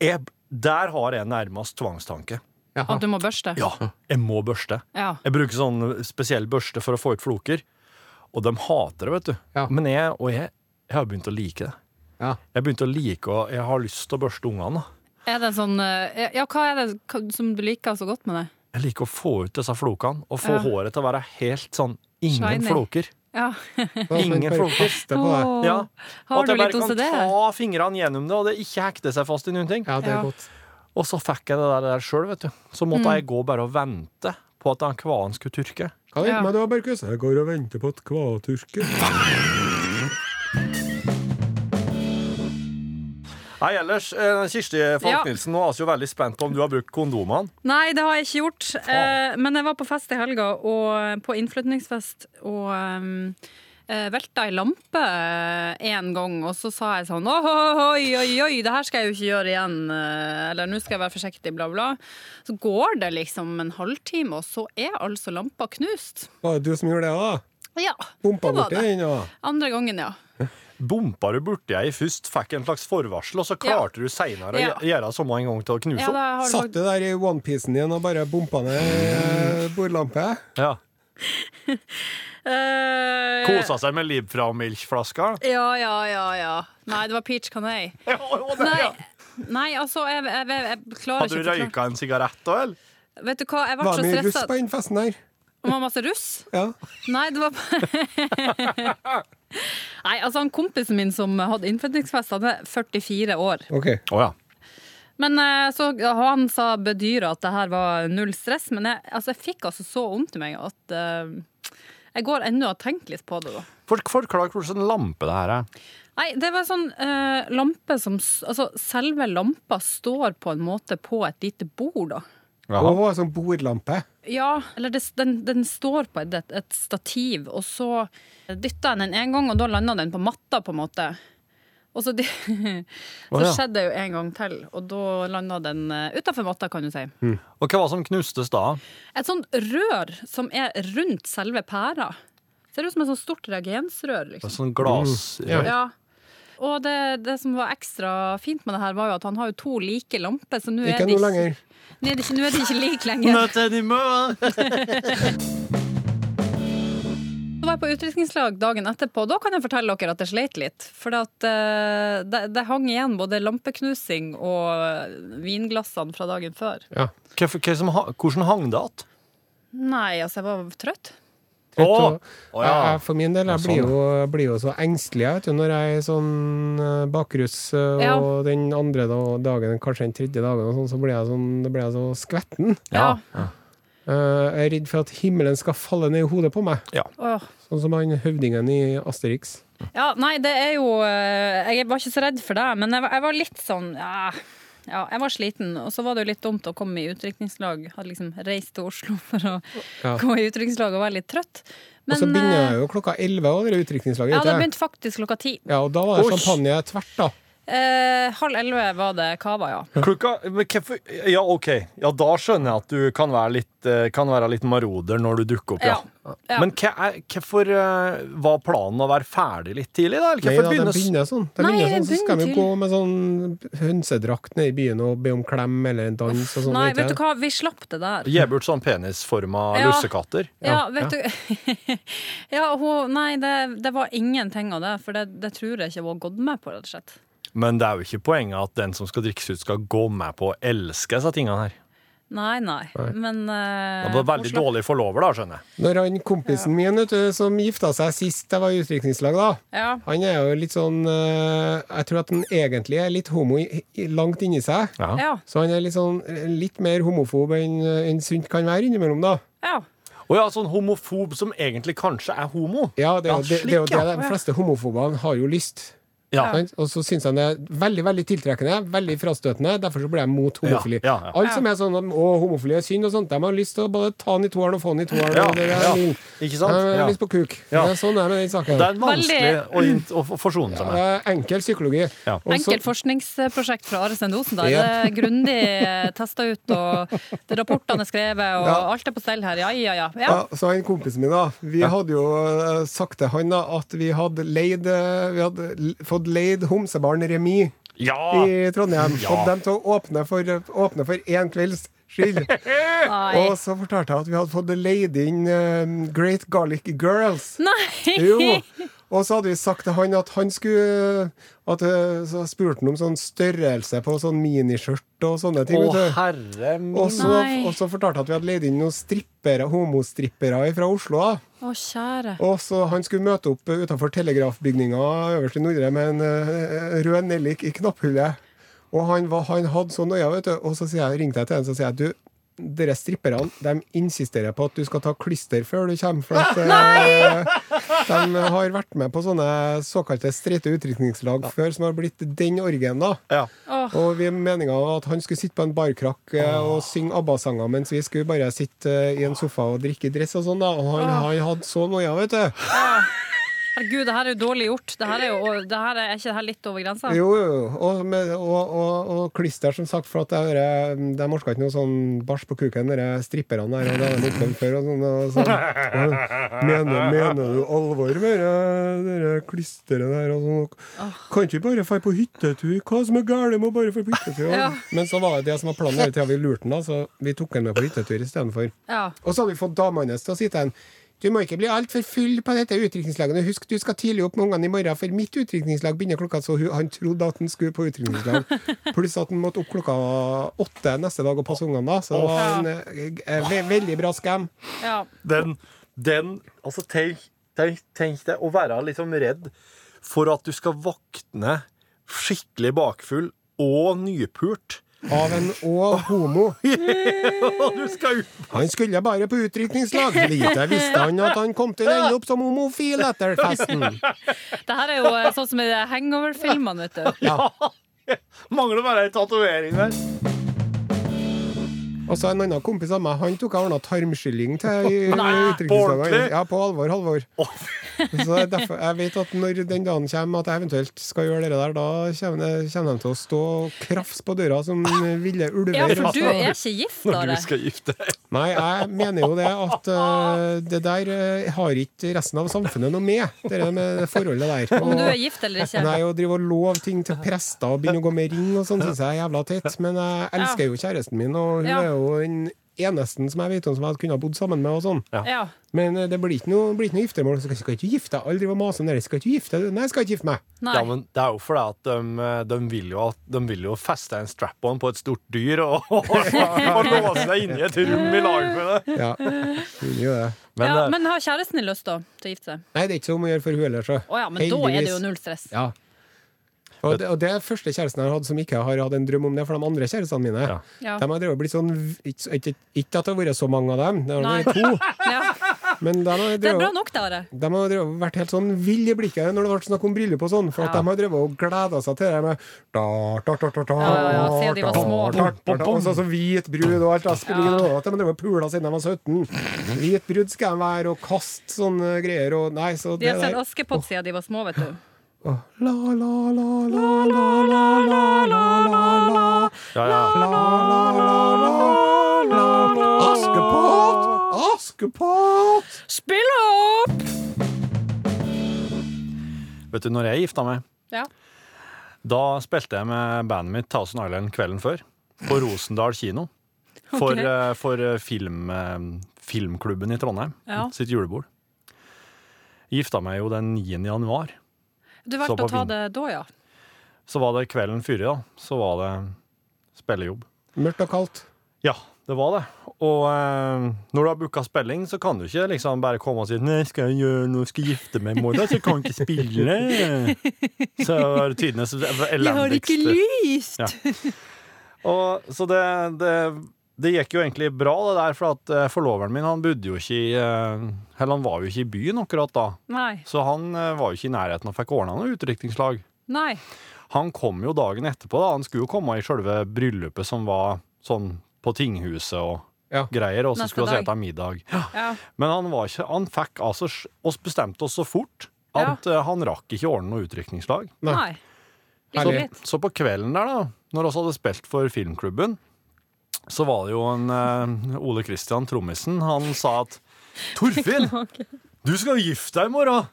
[SPEAKER 4] Jeg, der har jeg nærmest tvangstanke.
[SPEAKER 3] At du må børste.
[SPEAKER 4] Ja, jeg må børste.
[SPEAKER 3] Ja.
[SPEAKER 4] Jeg bruker sånn spesiell børste for å få ut floker. Og de hater det, vet du.
[SPEAKER 5] Ja.
[SPEAKER 4] Men jeg, og jeg, jeg har begynt å like det.
[SPEAKER 5] Ja.
[SPEAKER 4] Jeg har begynt å like og jeg har lyst til å børste ungene. da.
[SPEAKER 3] Er det en sånn eh, Ja, hva er det hva- som du liker så godt med det?
[SPEAKER 4] Jeg liker å få ut disse flokene og få
[SPEAKER 3] Ja.
[SPEAKER 4] håret til å være helt sånn ingen
[SPEAKER 3] Shiny.
[SPEAKER 4] floker.
[SPEAKER 3] Ja.
[SPEAKER 4] Ingen floker.
[SPEAKER 5] kaster på deg.
[SPEAKER 3] Åh.
[SPEAKER 4] Ja.
[SPEAKER 3] Har
[SPEAKER 4] At
[SPEAKER 3] du
[SPEAKER 4] jeg bare
[SPEAKER 3] litt
[SPEAKER 4] kan
[SPEAKER 3] OCD?
[SPEAKER 4] ta fingrene gjennom det, og det ikke hekter seg fast i noen ting.
[SPEAKER 5] Ja, det er
[SPEAKER 3] Ja.
[SPEAKER 5] godt.
[SPEAKER 4] Og så fikk jeg det der, det der sjøl, vet du. Så
[SPEAKER 3] Mm.
[SPEAKER 4] måtte jeg gå bare og vente på at den kvaen skulle tørke.
[SPEAKER 5] Hva er det
[SPEAKER 3] Ja.
[SPEAKER 5] med deg, Markus? Jeg går og venter på et kvaturke.
[SPEAKER 4] Nei, ellers, eh, Kirsti
[SPEAKER 3] Ja.
[SPEAKER 4] Falk Nilsen, nå er vi jo veldig spent på om du har brukt kondomene.
[SPEAKER 3] Nei, det har jeg ikke gjort. Eh, men jeg var på fest i helga, og på innflytningsfest, og um, eh, velta ei lampe én gang. Og så sa jeg sånn «Åh, Oi, oi, oi, det her skal jeg jo ikke gjøre igjen. eh, Eller nå skal jeg være forsiktig, bla, bla. Så går det liksom en halvtime, og så er altså lampa knust.
[SPEAKER 5] Var det du som gjorde det, da?
[SPEAKER 3] Ja,
[SPEAKER 5] Pumpa
[SPEAKER 3] det var
[SPEAKER 5] borti
[SPEAKER 3] det.
[SPEAKER 5] den, da?
[SPEAKER 3] Andre gangen, ja.
[SPEAKER 4] Bompa du borti ei først, fikk en slags forvarsel, og så klarte du seinere
[SPEAKER 3] Ja.
[SPEAKER 4] å gje- gjøre som en gang til å knuse
[SPEAKER 3] ja da
[SPEAKER 4] opp.
[SPEAKER 3] har du
[SPEAKER 5] Satt du der i onepiecen din og bare bompa ned eh, bordlampe?
[SPEAKER 4] Ja.
[SPEAKER 3] Eh,
[SPEAKER 4] Kosa seg med Libfra-milkflaska.
[SPEAKER 3] Ja, ja, ja, ja. Nei, det var peach canay. Nei, nei altså, jeg, jeg, jeg, jeg klarer
[SPEAKER 4] Hadde
[SPEAKER 3] ikke å
[SPEAKER 4] du
[SPEAKER 3] forklare-
[SPEAKER 4] røyka en sigarett da, eller?
[SPEAKER 3] Vet du hva, jeg ble
[SPEAKER 5] Var
[SPEAKER 3] så
[SPEAKER 5] det mye russ
[SPEAKER 3] stressa.
[SPEAKER 5] på den festen her?
[SPEAKER 3] Om han var masse russ?
[SPEAKER 5] Ja.
[SPEAKER 3] Nei, det var Nei, altså han kompisen min som hadde innfødningsfest, han er 44 år.
[SPEAKER 5] OK.
[SPEAKER 4] Å ja.
[SPEAKER 3] Men eh, så Han sa bedyra at det her var null stress, men jeg, altså, jeg fikk altså så vondt i meg at eh, Jeg går ennå og tenker litt på det, da.
[SPEAKER 4] For, forklar hvordan lampe det her er.
[SPEAKER 3] Nei, det var en sånn eh, lampe som s- Altså, selve lampa står på en måte på et lite bord, da.
[SPEAKER 5] Og hun har sånn bordlampe.
[SPEAKER 3] Ja, eller det, den, den står på et, et stativ, og så dytta jeg den en gang, og da landa den på matta, på en måte. Og så, de, så
[SPEAKER 4] Å, ja.
[SPEAKER 3] skjedde det jo en gang til, og da landa den utafor matta, kan du si.
[SPEAKER 5] Mm.
[SPEAKER 4] Og hva var det som knustes da?
[SPEAKER 3] Et sånt rør som er rundt selve pæra. Ser ut som et sånt stort reagensrør, liksom.
[SPEAKER 4] Sånn glass...
[SPEAKER 5] Mm. Ja.
[SPEAKER 3] Ja. Og det, det som var ekstra fint med det her, var jo at han har jo to like lamper, så nå er,
[SPEAKER 5] Ikke
[SPEAKER 3] de
[SPEAKER 5] noe
[SPEAKER 3] ikke,
[SPEAKER 5] lenger.
[SPEAKER 3] nå er de ikke, nå er de ikke like lenger. Så var jeg på utdrikningslag dagen etterpå, og da kan jeg fortelle dere at jeg sleit litt. For at, eh, det, det hang igjen både lampeknusing og eh, vinglassene fra dagen før.
[SPEAKER 5] Ja.
[SPEAKER 4] Hva, hva som, ha- hvordan hang det att?
[SPEAKER 3] Nei, altså, jeg var trøtt.
[SPEAKER 5] Trøtt
[SPEAKER 4] Å!
[SPEAKER 5] og-
[SPEAKER 4] Å
[SPEAKER 5] Jeg,
[SPEAKER 4] ja.
[SPEAKER 5] jeg, for min del, jeg
[SPEAKER 4] Ja,
[SPEAKER 5] blir,
[SPEAKER 4] sånn.
[SPEAKER 5] jo, jeg blir jo så engstelig jeg, vet du, når jeg er sånn eh, bakrus, eh,
[SPEAKER 3] Ja.
[SPEAKER 5] og den andre da- dagen, kanskje den tredje dagen, og sånn, så blir jeg, sånn, da blir jeg så skvetten.
[SPEAKER 4] Ja.
[SPEAKER 5] Eh, jeg er redd for at himmelen skal falle ned i hodet på meg,
[SPEAKER 3] Åh.
[SPEAKER 5] sånn som han høvdingen i Asterix.
[SPEAKER 3] Ja, nei, det er jo eh, Jeg var ikke så redd for det, men jeg var, jeg var litt sånn ja, ja, jeg var sliten. Og så var det jo litt dumt å komme i utdrikningslag. Hadde liksom reist til Oslo for å
[SPEAKER 5] Ja.
[SPEAKER 3] gå i utdrikningslag og være litt trøtt. Men
[SPEAKER 5] og så begynner
[SPEAKER 3] eh,
[SPEAKER 5] jeg jo klokka elleve, og det er utdrikningslaget.
[SPEAKER 3] ja,
[SPEAKER 5] vet
[SPEAKER 3] det
[SPEAKER 5] jeg.
[SPEAKER 3] begynte faktisk klokka ti.
[SPEAKER 5] ja, og da var det
[SPEAKER 4] Oi.
[SPEAKER 5] champagne tvert, da.
[SPEAKER 3] Eh, halv elleve var det cava, ja.
[SPEAKER 4] Klokka, men hvorfor- ja, OK. Ja, da skjønner jeg at du kan være litt, eh, kan være litt maroder når du dukker opp, ja.
[SPEAKER 3] Ja, ja.
[SPEAKER 4] Men hva er- hvorfor eh, var planen å være ferdig litt tidlig, da? Eller
[SPEAKER 5] Nei,
[SPEAKER 4] hvorfor
[SPEAKER 5] da, de
[SPEAKER 4] begynnes-
[SPEAKER 5] begynner sånn. De
[SPEAKER 3] Nei,
[SPEAKER 5] begynner sånn,
[SPEAKER 3] det
[SPEAKER 5] så skal de jo
[SPEAKER 3] begynner
[SPEAKER 5] gå med sånn hønsedrakt ned i byen og be om klem eller en dans og sånn.
[SPEAKER 3] Nei,
[SPEAKER 5] vet
[SPEAKER 3] vet
[SPEAKER 5] jeg.
[SPEAKER 3] du hva, vi slapp det der.
[SPEAKER 4] Gi bort sånn penisforma
[SPEAKER 3] Ja.
[SPEAKER 4] lussekatter.
[SPEAKER 3] Ja, vet du Ja, hun Nei, det, det var ingenting av det, for det, det tror jeg ikke hun har gått med på, rett og slett.
[SPEAKER 4] Men det er jo ikke poenget at den som skal drikkes ut, skal gå med på å elske disse tingene her.
[SPEAKER 3] Nei, nei, men eh,
[SPEAKER 4] Det var veldig
[SPEAKER 3] hun slapp-
[SPEAKER 4] dårlig forlover, da, skjønner jeg.
[SPEAKER 5] Når han kompisen min vet du, som gifta seg sist jeg var i utviklingslag, da
[SPEAKER 3] Ja.
[SPEAKER 5] Han er jo litt sånn eh, Jeg tror at han egentlig er litt homo i, i- langt inni seg.
[SPEAKER 3] Ja.
[SPEAKER 5] Så han er litt sånn eh, litt mer homofob enn eh, enn sunt kan være innimellom, da.
[SPEAKER 3] ja.
[SPEAKER 4] Og ja, sånn homofob som egentlig kanskje er homo.
[SPEAKER 5] Ja,
[SPEAKER 4] Ja,
[SPEAKER 5] det, er jo- det, det er jo
[SPEAKER 4] slik,
[SPEAKER 5] det
[SPEAKER 4] ja.
[SPEAKER 5] de fleste homofobene har jo lyst.
[SPEAKER 4] Ja.
[SPEAKER 5] Sant? Og så syns han det er veldig veldig tiltrekkende, veldig frastøtende. Derfor så blir jeg mot homofili.
[SPEAKER 4] Ja, ja, ja.
[SPEAKER 5] Alle som er sånn om, 'Å, homofili er synd', og sånt, de har lyst til å både ta han i toeren og få han i toeren.
[SPEAKER 4] Ja,
[SPEAKER 5] og det er
[SPEAKER 4] ja.
[SPEAKER 5] lill.
[SPEAKER 4] Ikke
[SPEAKER 5] De
[SPEAKER 4] sant?
[SPEAKER 5] har
[SPEAKER 4] Ja.
[SPEAKER 5] lyst på kuk.
[SPEAKER 4] Ja.
[SPEAKER 5] Det er sånn det er med den saken.
[SPEAKER 4] Det er vanskelig
[SPEAKER 3] Veldig.
[SPEAKER 4] å, inn- å forsone seg med.
[SPEAKER 5] Det er enkel psykologi.
[SPEAKER 4] Ja.
[SPEAKER 5] Og så-
[SPEAKER 3] Enkelt forskningsprosjekt fra Are Sende Osen. Der.
[SPEAKER 5] Ja.
[SPEAKER 3] Det er grundig testa ut, og det rapportene er skrevet, og
[SPEAKER 5] Ja.
[SPEAKER 3] alt er på stell her. Ja, ja, ja. ja.
[SPEAKER 5] Ja, så han kompisen min, da. Vi hadde jo eh, sagt til han da at vi hadde leid eh, Vi hadde l- fått leid Homsebarn Remi
[SPEAKER 4] Ja!
[SPEAKER 5] i Trondheim.
[SPEAKER 4] Ja.
[SPEAKER 5] Fått dem til å åpne for, åpne for én kvelds skyld.
[SPEAKER 3] Nei.
[SPEAKER 5] Og så fortalte jeg at vi hadde fått leid inn eh, Great Garlic Girls.
[SPEAKER 3] Nei.
[SPEAKER 5] Jo. Og så hadde vi sagt til han at han skulle at, eh, Så spurte han om sånn størrelse på sånn miniskjørt og sånne ting.
[SPEAKER 4] Å,
[SPEAKER 5] vet du.
[SPEAKER 4] herre min.
[SPEAKER 5] Og så,
[SPEAKER 3] Nei.
[SPEAKER 5] og så fortalte jeg at vi hadde leid inn noen strippere, homostrippere fra Oslo. da
[SPEAKER 3] Å, kjære.
[SPEAKER 5] og så Han skulle møte opp utenfor telegrafbygninga øverst i Nordre med en eh, rød nellik i knapphullet. Og han, var, han hadde så nøye, vet du. Og så sier jeg, ringte jeg til han så sier jeg, du, dere stripperne de insisterer på at du skal ta klister før du kommer. For at eh, de har vært med på sånne såkalte streite utrykningslag før, som har blitt den orgien, da.
[SPEAKER 4] Ja.
[SPEAKER 3] Åh.
[SPEAKER 5] Og vi meninga var at han skulle sitte på en barkrakk eh, og synge ABBA-sanger, mens vi skulle bare sitte eh, i en sofa og drikke dress og sånn, da. Og han, han hadde så noia, vet du.
[SPEAKER 3] Herregud, det her er jo dårlig gjort. Det her er, jo, det her er, er ikke det her litt over grensa?
[SPEAKER 5] Jo, jo, jo. Og, med, og, og, og klister, som sagt, for at det er, de orka ikke noe sånn bæsj på kuken, de stripperne der. Og det har de opplevd før. Og sånn, og sånn. Og, mener, mener du alvor med det der klisteret der? Og sånn, og, kan ikke vi bare dra på hyttetur? Hva som er galt med å bare dra på hyttetur?
[SPEAKER 3] Ja.
[SPEAKER 5] Men så var det det som var altså. planen hele tida. Vi lurte den, da, så vi tok den med på hyttetur istedenfor.
[SPEAKER 3] Ja.
[SPEAKER 5] Og så hadde vi fått damene hans til å sitte en Du må ikke bli altfor full på dette utdrikningslaget. Husk, du skal tidlig opp med ungene i morgen, for mitt utdrikningslag begynner klokka Så hun, han trodde at han skulle på utdrikningslag. Pluss at han måtte opp klokka åtte neste dag og passe ungene da. Så det var en eh, eh, ve veldig bra scam.
[SPEAKER 3] Ja.
[SPEAKER 8] Den, den Altså, tenk, tenk, tenk deg å være liksom redd for at du skal våkne skikkelig bakfull og nypult.
[SPEAKER 5] Av en og homo.
[SPEAKER 8] Og du skal ut
[SPEAKER 5] Han skulle bare på utdrikningslag. Lite visste han at han kom til å ende opp som homofil etter festen.
[SPEAKER 3] Det her er jo eh, sånn som i de hangover-filmene, vet du.
[SPEAKER 8] Mangler bare ei tatovering der.
[SPEAKER 5] Og så en annen kompis av meg, han tok og ordna tarmskylling til i- i
[SPEAKER 8] ordentlig?
[SPEAKER 5] utdrikningslaget. Ja, på alvor, Halvor.
[SPEAKER 8] Å,
[SPEAKER 5] Så det er derfor, jeg vet at når den dagen kommer at jeg eventuelt skal gjøre det der, da kommer, det, kommer de til å stå og krafse på døra som ville ulver.
[SPEAKER 3] Ja, for du
[SPEAKER 5] Altså,
[SPEAKER 3] er ikke gift, da.
[SPEAKER 8] Når du
[SPEAKER 3] det.
[SPEAKER 8] skal gifte deg.
[SPEAKER 5] Nei, jeg mener jo det at eh, det der eh, har ikke resten av samfunnet noe med, det der med det forholdet der.
[SPEAKER 3] Om du
[SPEAKER 5] Og-
[SPEAKER 3] er gift eller ikke.
[SPEAKER 5] Nei, å drive og love ting til prester og begynne å gå med ring og sånn, syns jeg er jævla teit. Men jeg elsker jo kjæresten min, og hun
[SPEAKER 3] Ja.
[SPEAKER 5] er jo den eneste som jeg vet om som jeg kunne ha bodd sammen med og sånn.
[SPEAKER 3] Ja.
[SPEAKER 5] Men eh, det blir ikke noe, blir ikke noe giftermål. Så skal, skal ikke gifte deg. Alle driver og maser om det. Skal ikke gifte deg? Nei, jeg skal ikke gifte meg.
[SPEAKER 3] Nei.
[SPEAKER 8] Ja, men det er jo fordi at de, de, vil, jo, at- de vil jo feste en strap-on på et stort dyr og, og, og låse deg inne i et rom i lag med det.
[SPEAKER 5] Ja, hun gjør det.
[SPEAKER 8] Men,
[SPEAKER 3] ja,
[SPEAKER 8] eh,
[SPEAKER 3] men har kjæresten din lyst da, til å gifte seg?
[SPEAKER 5] Nei, det er ikke så mye å gjøre for hun heller, så.
[SPEAKER 3] Å ja, men da er det jo null stress.
[SPEAKER 5] Ja. Og det, og det er første kjæresten jeg har hatt som ikke har hatt en drøm om det, for de andre kjærestene mine
[SPEAKER 4] Ja.
[SPEAKER 3] Ja.
[SPEAKER 5] De har drevet og blitt sånn Ikke ikke- ikke at det har vært så mange av dem, det har
[SPEAKER 3] Nei.
[SPEAKER 5] vært to,
[SPEAKER 3] Ja.
[SPEAKER 5] men de har
[SPEAKER 3] Det er
[SPEAKER 5] drevet
[SPEAKER 3] bra nok, det, Are.
[SPEAKER 5] De har drevet, vært helt sånn vill i blikket når det ble snakk om bryllup og sånn, for at
[SPEAKER 3] Ja.
[SPEAKER 5] de har drevet og gleda seg til det med da, da, da, da, da,
[SPEAKER 3] ja, ja, siden de var
[SPEAKER 5] da,
[SPEAKER 3] små.
[SPEAKER 5] da, da, da, Og så så hvit brud og alt. da spiller ingen rolle at de har drevet og pula siden de var 17. Hvit brud skal de være, og kaste sånne greier og Nei, så
[SPEAKER 3] De
[SPEAKER 5] det
[SPEAKER 3] har sett
[SPEAKER 5] der
[SPEAKER 3] Askepott siden de var små, vet du.
[SPEAKER 5] Åh. La, la, la, la, la, la, la, la, la, la,
[SPEAKER 4] Ja, ja.
[SPEAKER 5] la, la, la, la, la. Askepott! Askepott!
[SPEAKER 3] Spill opp!
[SPEAKER 4] Vet du, når jeg gifta meg,
[SPEAKER 3] Ja.
[SPEAKER 4] da spilte jeg med bandet mitt Thousand Island kvelden før. På Rosendal kino. For,
[SPEAKER 3] Ok.
[SPEAKER 4] eh, for eh, film, eh, filmklubben i Trondheim
[SPEAKER 3] Ja.
[SPEAKER 4] sitt julebord. Gifta meg jo den 9. januar.
[SPEAKER 3] Du
[SPEAKER 4] Så
[SPEAKER 3] valgte
[SPEAKER 4] på
[SPEAKER 3] å ta
[SPEAKER 4] vind.
[SPEAKER 3] det da, ja.
[SPEAKER 4] Så var det kvelden før, da. Så var det spillejobb.
[SPEAKER 5] Mørkt og kaldt.
[SPEAKER 4] Ja, det var det. Og eh, når du har booka spilling, så kan du ikke liksom bare komme og si Nei, skal jeg gjøre noe, skal jeg gifte meg i morgen, så jeg kan ikke spille. Så er det tidenes elendigste
[SPEAKER 3] lyst!
[SPEAKER 4] Ja. og, Så det, det, det gikk jo egentlig bra, det der, for at eh, forloveren min han bodde jo ikke i eh, Eller han var jo ikke i byen akkurat da,
[SPEAKER 3] Nei.
[SPEAKER 4] så han eh, var jo ikke i nærheten og fikk ordna noe utdrikningslag.
[SPEAKER 3] Nei.
[SPEAKER 4] Han kom jo dagen etterpå, da. Han skulle jo komme i sjølve bryllupet som var sånn på tinghuset og
[SPEAKER 5] Ja.
[SPEAKER 4] greier, og så
[SPEAKER 3] Neste
[SPEAKER 4] skulle vi
[SPEAKER 3] dag.
[SPEAKER 4] spise middag. Ja.
[SPEAKER 3] Ja.
[SPEAKER 4] Men han var ikke Han fikk altså sj- oss bestemte oss så fort at eh, han rakk ikke ordne noe utdrikningslag.
[SPEAKER 5] Nei.
[SPEAKER 3] Nei. Litt
[SPEAKER 4] Så,
[SPEAKER 5] Herlig.
[SPEAKER 3] litt.
[SPEAKER 4] så på kvelden der, da, når vi hadde spilt for filmklubben, så var det jo en eh, Ole Kristian Trommisen, han sa at Torfinn, du skal gifte deg i morgen!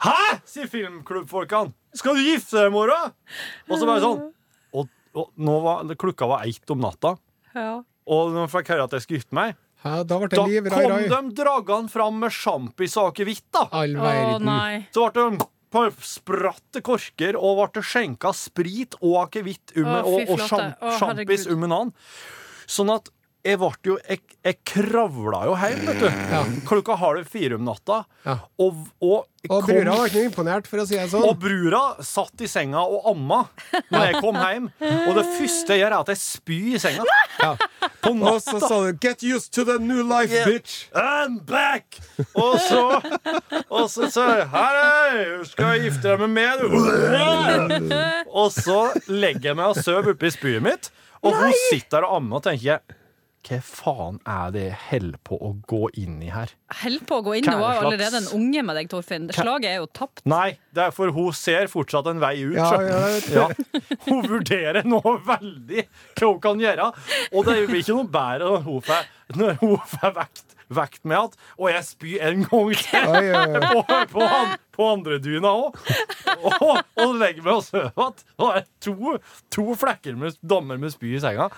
[SPEAKER 4] Hæ?! sier filmklubbfolkene. Skal du gifte deg i morgen?! Og så bare sånn. Og, og nå var, klokka var ett om natta,
[SPEAKER 3] Ja.
[SPEAKER 4] og når jeg fikk høre at jeg skulle gifte meg,
[SPEAKER 5] Ja, da ble
[SPEAKER 4] da
[SPEAKER 5] det liv, rai,
[SPEAKER 4] kom
[SPEAKER 5] rai.
[SPEAKER 4] de draggende fram med sjampisaker hvitt, da!
[SPEAKER 5] All
[SPEAKER 3] Å
[SPEAKER 5] verden.
[SPEAKER 3] nei.
[SPEAKER 4] Så ble det på spratt til korker, og ble skjenka sprit og akevitt um,
[SPEAKER 3] Å, fy
[SPEAKER 4] og, og
[SPEAKER 3] flate.
[SPEAKER 4] sjam-
[SPEAKER 3] Å,
[SPEAKER 4] sjampis
[SPEAKER 3] herregud.
[SPEAKER 4] um en annen. Sånn at jeg ble jo Jeg, jeg kravla jo hjem, vet du. Klokka halv fire om natta.
[SPEAKER 5] Ja.
[SPEAKER 4] Og, og,
[SPEAKER 5] Og
[SPEAKER 4] kom-
[SPEAKER 5] brura var ikke noe imponert, for å si det
[SPEAKER 4] og
[SPEAKER 5] sånn.
[SPEAKER 4] brura satt i senga og amma når jeg kom hjem. Og det første jeg gjør, er at jeg spyr i senga. På
[SPEAKER 5] Og så sa du 'get used to the new life,
[SPEAKER 4] Yeah.
[SPEAKER 5] bitch'.
[SPEAKER 4] I'm back! Og så Og så sa jeg Hei, du skal jeg gifte deg med meg, du. Og så legger jeg meg og sover oppi spyet mitt, og hun sitter der og ammer og tenker Hva faen er det jeg holder på å gå inn i her?
[SPEAKER 3] Held på å gå inn. Du
[SPEAKER 4] Hva
[SPEAKER 3] var jo
[SPEAKER 4] slags-
[SPEAKER 3] allerede en unge med deg, Torfinn. Det Slaget er jo tapt.
[SPEAKER 4] Nei, det er for hun ser fortsatt en vei ut.
[SPEAKER 5] Ja,
[SPEAKER 4] skjønner
[SPEAKER 5] ja, jeg vet
[SPEAKER 4] du. Ja. Hun vurderer nå veldig hva hun kan gjøre, og det blir ikke noe bedre når hun får, når hun får vekt, vekt med at Og jeg spyr en gang til.
[SPEAKER 5] Oi, oi, oi.
[SPEAKER 4] på, på, an, på andre dyna òg. Og, og legger meg og sover igjen. Det er to, to flekker med dammer med spy i senga.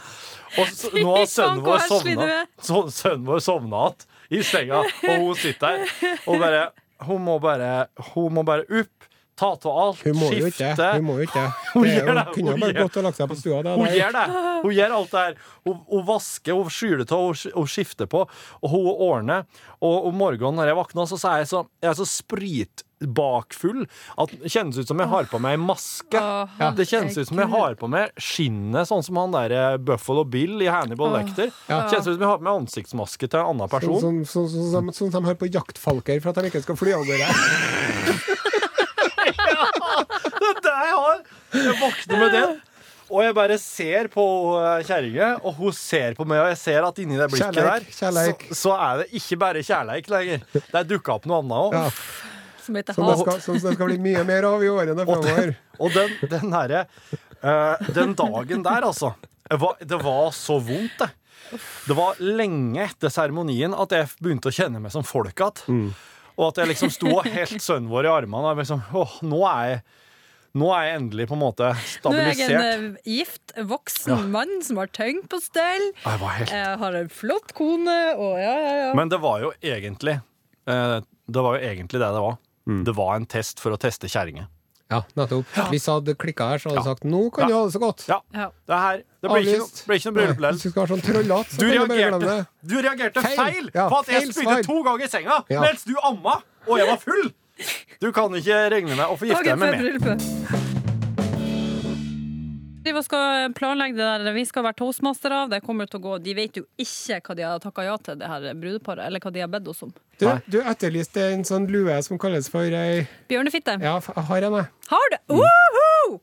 [SPEAKER 4] Og så, nå
[SPEAKER 3] Fy
[SPEAKER 4] har
[SPEAKER 3] faen,
[SPEAKER 4] sønnen
[SPEAKER 3] hvor
[SPEAKER 4] vår
[SPEAKER 3] heslig du
[SPEAKER 4] sovna
[SPEAKER 3] er.
[SPEAKER 4] så- Sønnen vår sovna igjen. i senga, og hun sitter der. Og bare, hun, må bare, hun må bare opp, ta av alt,
[SPEAKER 5] Hun må jo ikke
[SPEAKER 4] skifte.
[SPEAKER 5] det. Hun må jo ikke det.
[SPEAKER 4] Hun
[SPEAKER 5] Det er
[SPEAKER 4] gjør
[SPEAKER 5] jo-
[SPEAKER 4] det,
[SPEAKER 5] Kunne
[SPEAKER 4] hun
[SPEAKER 5] jo bare
[SPEAKER 4] gjør-
[SPEAKER 5] gått og lagt seg på stua. da.
[SPEAKER 4] Hun
[SPEAKER 5] Det er jo-
[SPEAKER 4] gjør det. Hun gjør alt det her. Hun, hun vasker, hun skyler av, hun, sk- hun skifter på, og hun ordner. Og om morgenen når jeg våkner, så er jeg så, jeg er så spritbakfull at det kjennes ut som jeg har på meg en maske.
[SPEAKER 3] Åh,
[SPEAKER 5] Ja.
[SPEAKER 4] Det kjennes ut som jeg har på meg skinnet, sånn som han der eh, Buffalo Bill i Hannibal Lecter.
[SPEAKER 5] Ja.
[SPEAKER 4] Kjennes ut som jeg har på meg ansiktsmaske til en annen
[SPEAKER 5] Sånn
[SPEAKER 4] person.
[SPEAKER 5] som sånn, sånn, sånn, sånn, som de har på jaktfalker for at de ikke skal fly av gårde.
[SPEAKER 4] Det er det jeg har! Jeg våkner med den. Og jeg bare ser på eh, kjerringa, og hun ser på meg, og jeg ser at inni det blikket
[SPEAKER 5] Kjærleik,
[SPEAKER 4] der,
[SPEAKER 5] kjærleik.
[SPEAKER 4] Så, så er det ikke bare kjærleik lenger. Det er dukka opp noe annet òg.
[SPEAKER 5] Ja.
[SPEAKER 3] som heter
[SPEAKER 5] Som det,
[SPEAKER 3] hat.
[SPEAKER 5] skal, som det skal bli mye mer av i årene
[SPEAKER 4] Og den,
[SPEAKER 5] framover.
[SPEAKER 4] og den, den herre eh, Den dagen der, altså. Det var, det var så vondt, det. Det var lenge etter seremonien at jeg begynte å kjenne meg som folk igjen.
[SPEAKER 5] Mm.
[SPEAKER 4] Og at jeg liksom sto helt sønnen vår i armene. Og jeg liksom, åh, nå, er jeg, nå er jeg endelig på en måte
[SPEAKER 3] Nå er jeg en
[SPEAKER 4] stabilisert.
[SPEAKER 3] eh, gift, voksen mann som har ting på stell.
[SPEAKER 4] Jeg var helt
[SPEAKER 3] Jeg har en flott kone, og ja, ja, ja.
[SPEAKER 4] Ah. Men det var jo egentlig eh, Det var jo egentlig det det var.
[SPEAKER 5] Mm.
[SPEAKER 4] Det var en test for å teste kjerringer.
[SPEAKER 5] Ja, nettopp. Hvis jeg hadde klikka her, så hadde jeg sagt 'nå
[SPEAKER 4] Ja.
[SPEAKER 5] kan du ha det så godt'.
[SPEAKER 4] Ja.
[SPEAKER 3] Ja.
[SPEAKER 4] Det her Det blir ikke,
[SPEAKER 5] Avlyst.
[SPEAKER 4] noe- blir ikke noe
[SPEAKER 5] Nei,
[SPEAKER 4] bryllup
[SPEAKER 5] Hvis du
[SPEAKER 4] likevel.
[SPEAKER 5] skal være sånn trollete, så
[SPEAKER 4] Du
[SPEAKER 5] kan du bare glemme
[SPEAKER 4] reagerte,
[SPEAKER 5] det.
[SPEAKER 4] du reagerte
[SPEAKER 5] Feil.
[SPEAKER 4] feil,
[SPEAKER 5] Ja,
[SPEAKER 4] på at jeg
[SPEAKER 5] feil
[SPEAKER 4] spydde
[SPEAKER 5] svar.
[SPEAKER 4] to ganger i senga
[SPEAKER 5] Ja.
[SPEAKER 4] mens du amma og jeg var full! Du kan ikke regne med å få gifte deg
[SPEAKER 3] Dagen før
[SPEAKER 4] med meg.
[SPEAKER 3] bryllupet. Vi skal planlegge det der, vi skal være toastmaster av. Det kommer til å gå. De vet jo ikke hva de har takka ja til, det her brudeparet, eller hva de har bedt oss om.
[SPEAKER 5] Du, du etterlyste en sånn lue som kalles for ei
[SPEAKER 3] Bjørnefitte.
[SPEAKER 5] Ja, f- jeg har en, jeg.
[SPEAKER 3] Har du?
[SPEAKER 4] Mm.
[SPEAKER 3] Woho!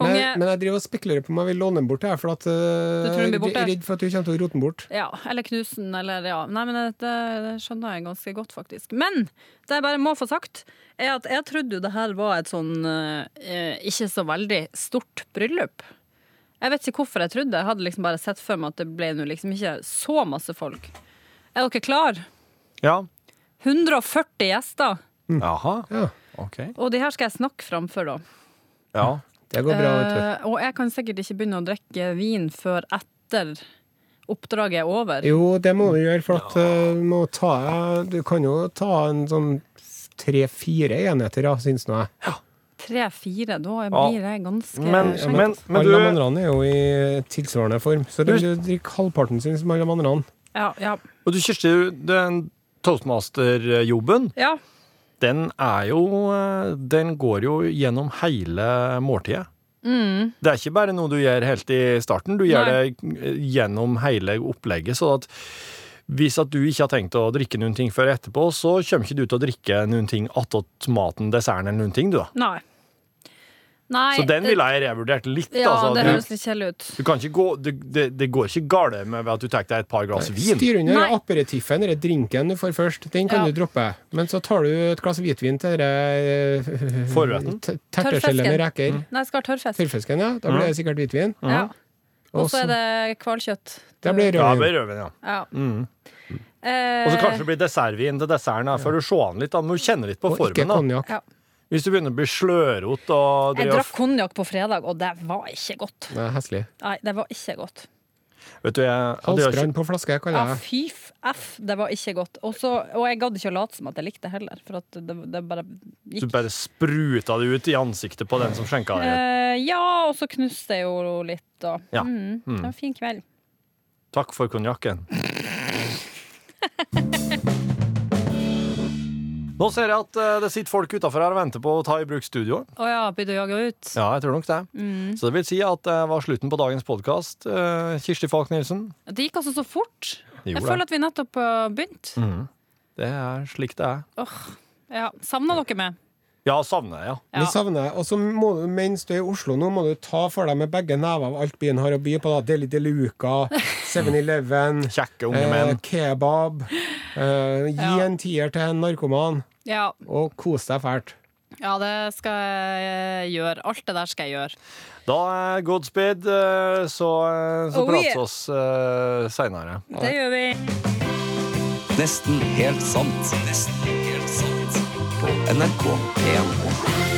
[SPEAKER 3] Konge.
[SPEAKER 5] Men, men jeg driver og spekulerer på om jeg vil låne den bort, jeg, for at, eh,
[SPEAKER 3] Du tror den blir borte?
[SPEAKER 5] jeg er redd for at du kommer til å rote den bort.
[SPEAKER 3] Ja, eller knusen, eller ja. Nei, men det, det skjønner jeg ganske godt, faktisk. Men det jeg bare må få sagt, er at jeg trodde jo det her var et sånn eh, ikke så veldig stort bryllup. Jeg vet ikke hvorfor jeg trodde det. Jeg hadde liksom bare sett for meg at det ble nå liksom ikke så masse folk. Er dere klar?
[SPEAKER 4] Ja.
[SPEAKER 3] 140 gjester.
[SPEAKER 4] Jaha.
[SPEAKER 5] Mm. Ja.
[SPEAKER 4] OK.
[SPEAKER 3] Og de her skal jeg snakke framfor, da.
[SPEAKER 4] Ja.
[SPEAKER 5] Det går bra, vet du.
[SPEAKER 3] Eh, og jeg kan sikkert ikke begynne å drikke vin før etter oppdraget er over.
[SPEAKER 5] Jo, det må du gjøre, for at eh, du må ta Du kan jo ta en sånn tre-fire enheter, ja, syns nå jeg.
[SPEAKER 3] Tre-fire, da
[SPEAKER 4] Ja.
[SPEAKER 3] blir jeg ganske
[SPEAKER 4] Men,
[SPEAKER 3] skjenkt.
[SPEAKER 4] men, men
[SPEAKER 5] alle de
[SPEAKER 4] du,
[SPEAKER 5] andre er jo i tilsvarende form, så du vil jo drikke halvparten sin som alle de andre.
[SPEAKER 3] Ja, ja.
[SPEAKER 4] og du Kirsti, den toastmasterjobben,
[SPEAKER 3] Ja,
[SPEAKER 4] den er jo eh, Den går jo gjennom hele måltidet. Det er ikke bare noe du gjør helt i starten, du gjør
[SPEAKER 3] Mm. Nei.
[SPEAKER 4] det gjennom hele opplegget. Så at hvis at du ikke har tenkt å drikke noen ting før etterpå, så kommer ikke du til å drikke noen ting attåt maten, desserten eller noen ting, du da.
[SPEAKER 3] nei. nei eh,
[SPEAKER 4] Så den ville jeg revurdert litt,
[SPEAKER 3] Ja, det høres
[SPEAKER 4] altså.
[SPEAKER 3] litt kjedelig ut.
[SPEAKER 4] Du, du kan ikke gå, du, det, det går ikke galt med at du tar deg et par glass vin.
[SPEAKER 5] Styr under
[SPEAKER 3] Nei.
[SPEAKER 5] aperitiffen, eller drinken du får først. Den kan
[SPEAKER 3] Ja.
[SPEAKER 5] du droppe. Men så tar du et glass hvitvin til eh, denne
[SPEAKER 4] Forretten.
[SPEAKER 3] Tørrfisken.
[SPEAKER 5] terteskjellene reker.
[SPEAKER 4] Mm.
[SPEAKER 3] Nei, jeg skal ha tørrfisk.
[SPEAKER 5] Tørrfisken, ja. Da blir det sikkert hvitvin.
[SPEAKER 3] Ja. Og
[SPEAKER 5] Og
[SPEAKER 3] så
[SPEAKER 5] så-
[SPEAKER 3] er det hvalkjøtt.
[SPEAKER 5] Det blir
[SPEAKER 4] Ja, det
[SPEAKER 5] rødvin.
[SPEAKER 4] blir rødvin, ja.
[SPEAKER 3] Ja.
[SPEAKER 4] Mm. Og
[SPEAKER 3] Eh,
[SPEAKER 4] så kanskje det blir dessertvin til desserten, da, før du ser an litt. Da må du kjenne litt på
[SPEAKER 5] Og ikke
[SPEAKER 4] formen. da.
[SPEAKER 5] konjakk.
[SPEAKER 3] Ja.
[SPEAKER 4] Hvis du begynner å bli slørete og
[SPEAKER 3] jeg
[SPEAKER 4] driver og
[SPEAKER 3] drakk konjakk på fredag, og det var ikke godt.
[SPEAKER 5] Det er heslig.
[SPEAKER 3] Nei, det var ikke godt.
[SPEAKER 4] Vet du, jeg, det gjør ikke-
[SPEAKER 5] Halsbrann på flaske,
[SPEAKER 3] Ja,
[SPEAKER 5] kaller jeg det.
[SPEAKER 3] fy f- f, det var ikke godt. Og så- og jeg gadd ikke å late som at jeg likte det heller, for at det, det bare
[SPEAKER 4] du
[SPEAKER 3] gikk.
[SPEAKER 4] bare spruta det ut i ansiktet på den som skjenka deg.
[SPEAKER 3] Eh, ja, og så knuste jeg jo litt, da.
[SPEAKER 4] Ja.
[SPEAKER 3] Mm, det var en fin kveld.
[SPEAKER 4] Takk for konjakken. Nå ser jeg at eh, det sitter folk utafor her og venter på å ta i bruk Mm. studioet.
[SPEAKER 3] Å ja, begynte å jage ut.
[SPEAKER 4] Ja, jeg tror nok det. Så det vil si at det var slutten på dagens podkast. Kirsti Falk Nilsen.
[SPEAKER 3] Det gikk altså så fort.
[SPEAKER 4] Jo,
[SPEAKER 3] jeg
[SPEAKER 4] det.
[SPEAKER 3] føler at vi nettopp eh, har begynt.
[SPEAKER 4] Det er slik det er.
[SPEAKER 3] Åh, ja. Savna dere meg?
[SPEAKER 4] Ja, savner jeg, ja.
[SPEAKER 3] Ja.
[SPEAKER 5] Vi savner deg. Og så må du, mens du er i Oslo nå, må du ta for deg med begge never av alt byen har å by på. da. Deli de Luca, 7-Eleven,
[SPEAKER 4] Kjekke unge
[SPEAKER 5] eh,
[SPEAKER 4] menn.
[SPEAKER 5] kebab. Eh, gi
[SPEAKER 3] Ja.
[SPEAKER 5] en tier til en narkoman,
[SPEAKER 3] Ja.
[SPEAKER 5] og kos deg fælt.
[SPEAKER 3] ja, det skal jeg gjøre. Alt det der skal jeg gjøre.
[SPEAKER 4] Da er godspeed, eh, så, eh, så
[SPEAKER 3] Oh,
[SPEAKER 4] prates
[SPEAKER 3] yeah.
[SPEAKER 4] oss uh, seinere.
[SPEAKER 3] Det gjør vi.
[SPEAKER 2] Nesten helt sant. Nesten helt sant. På NRK P1.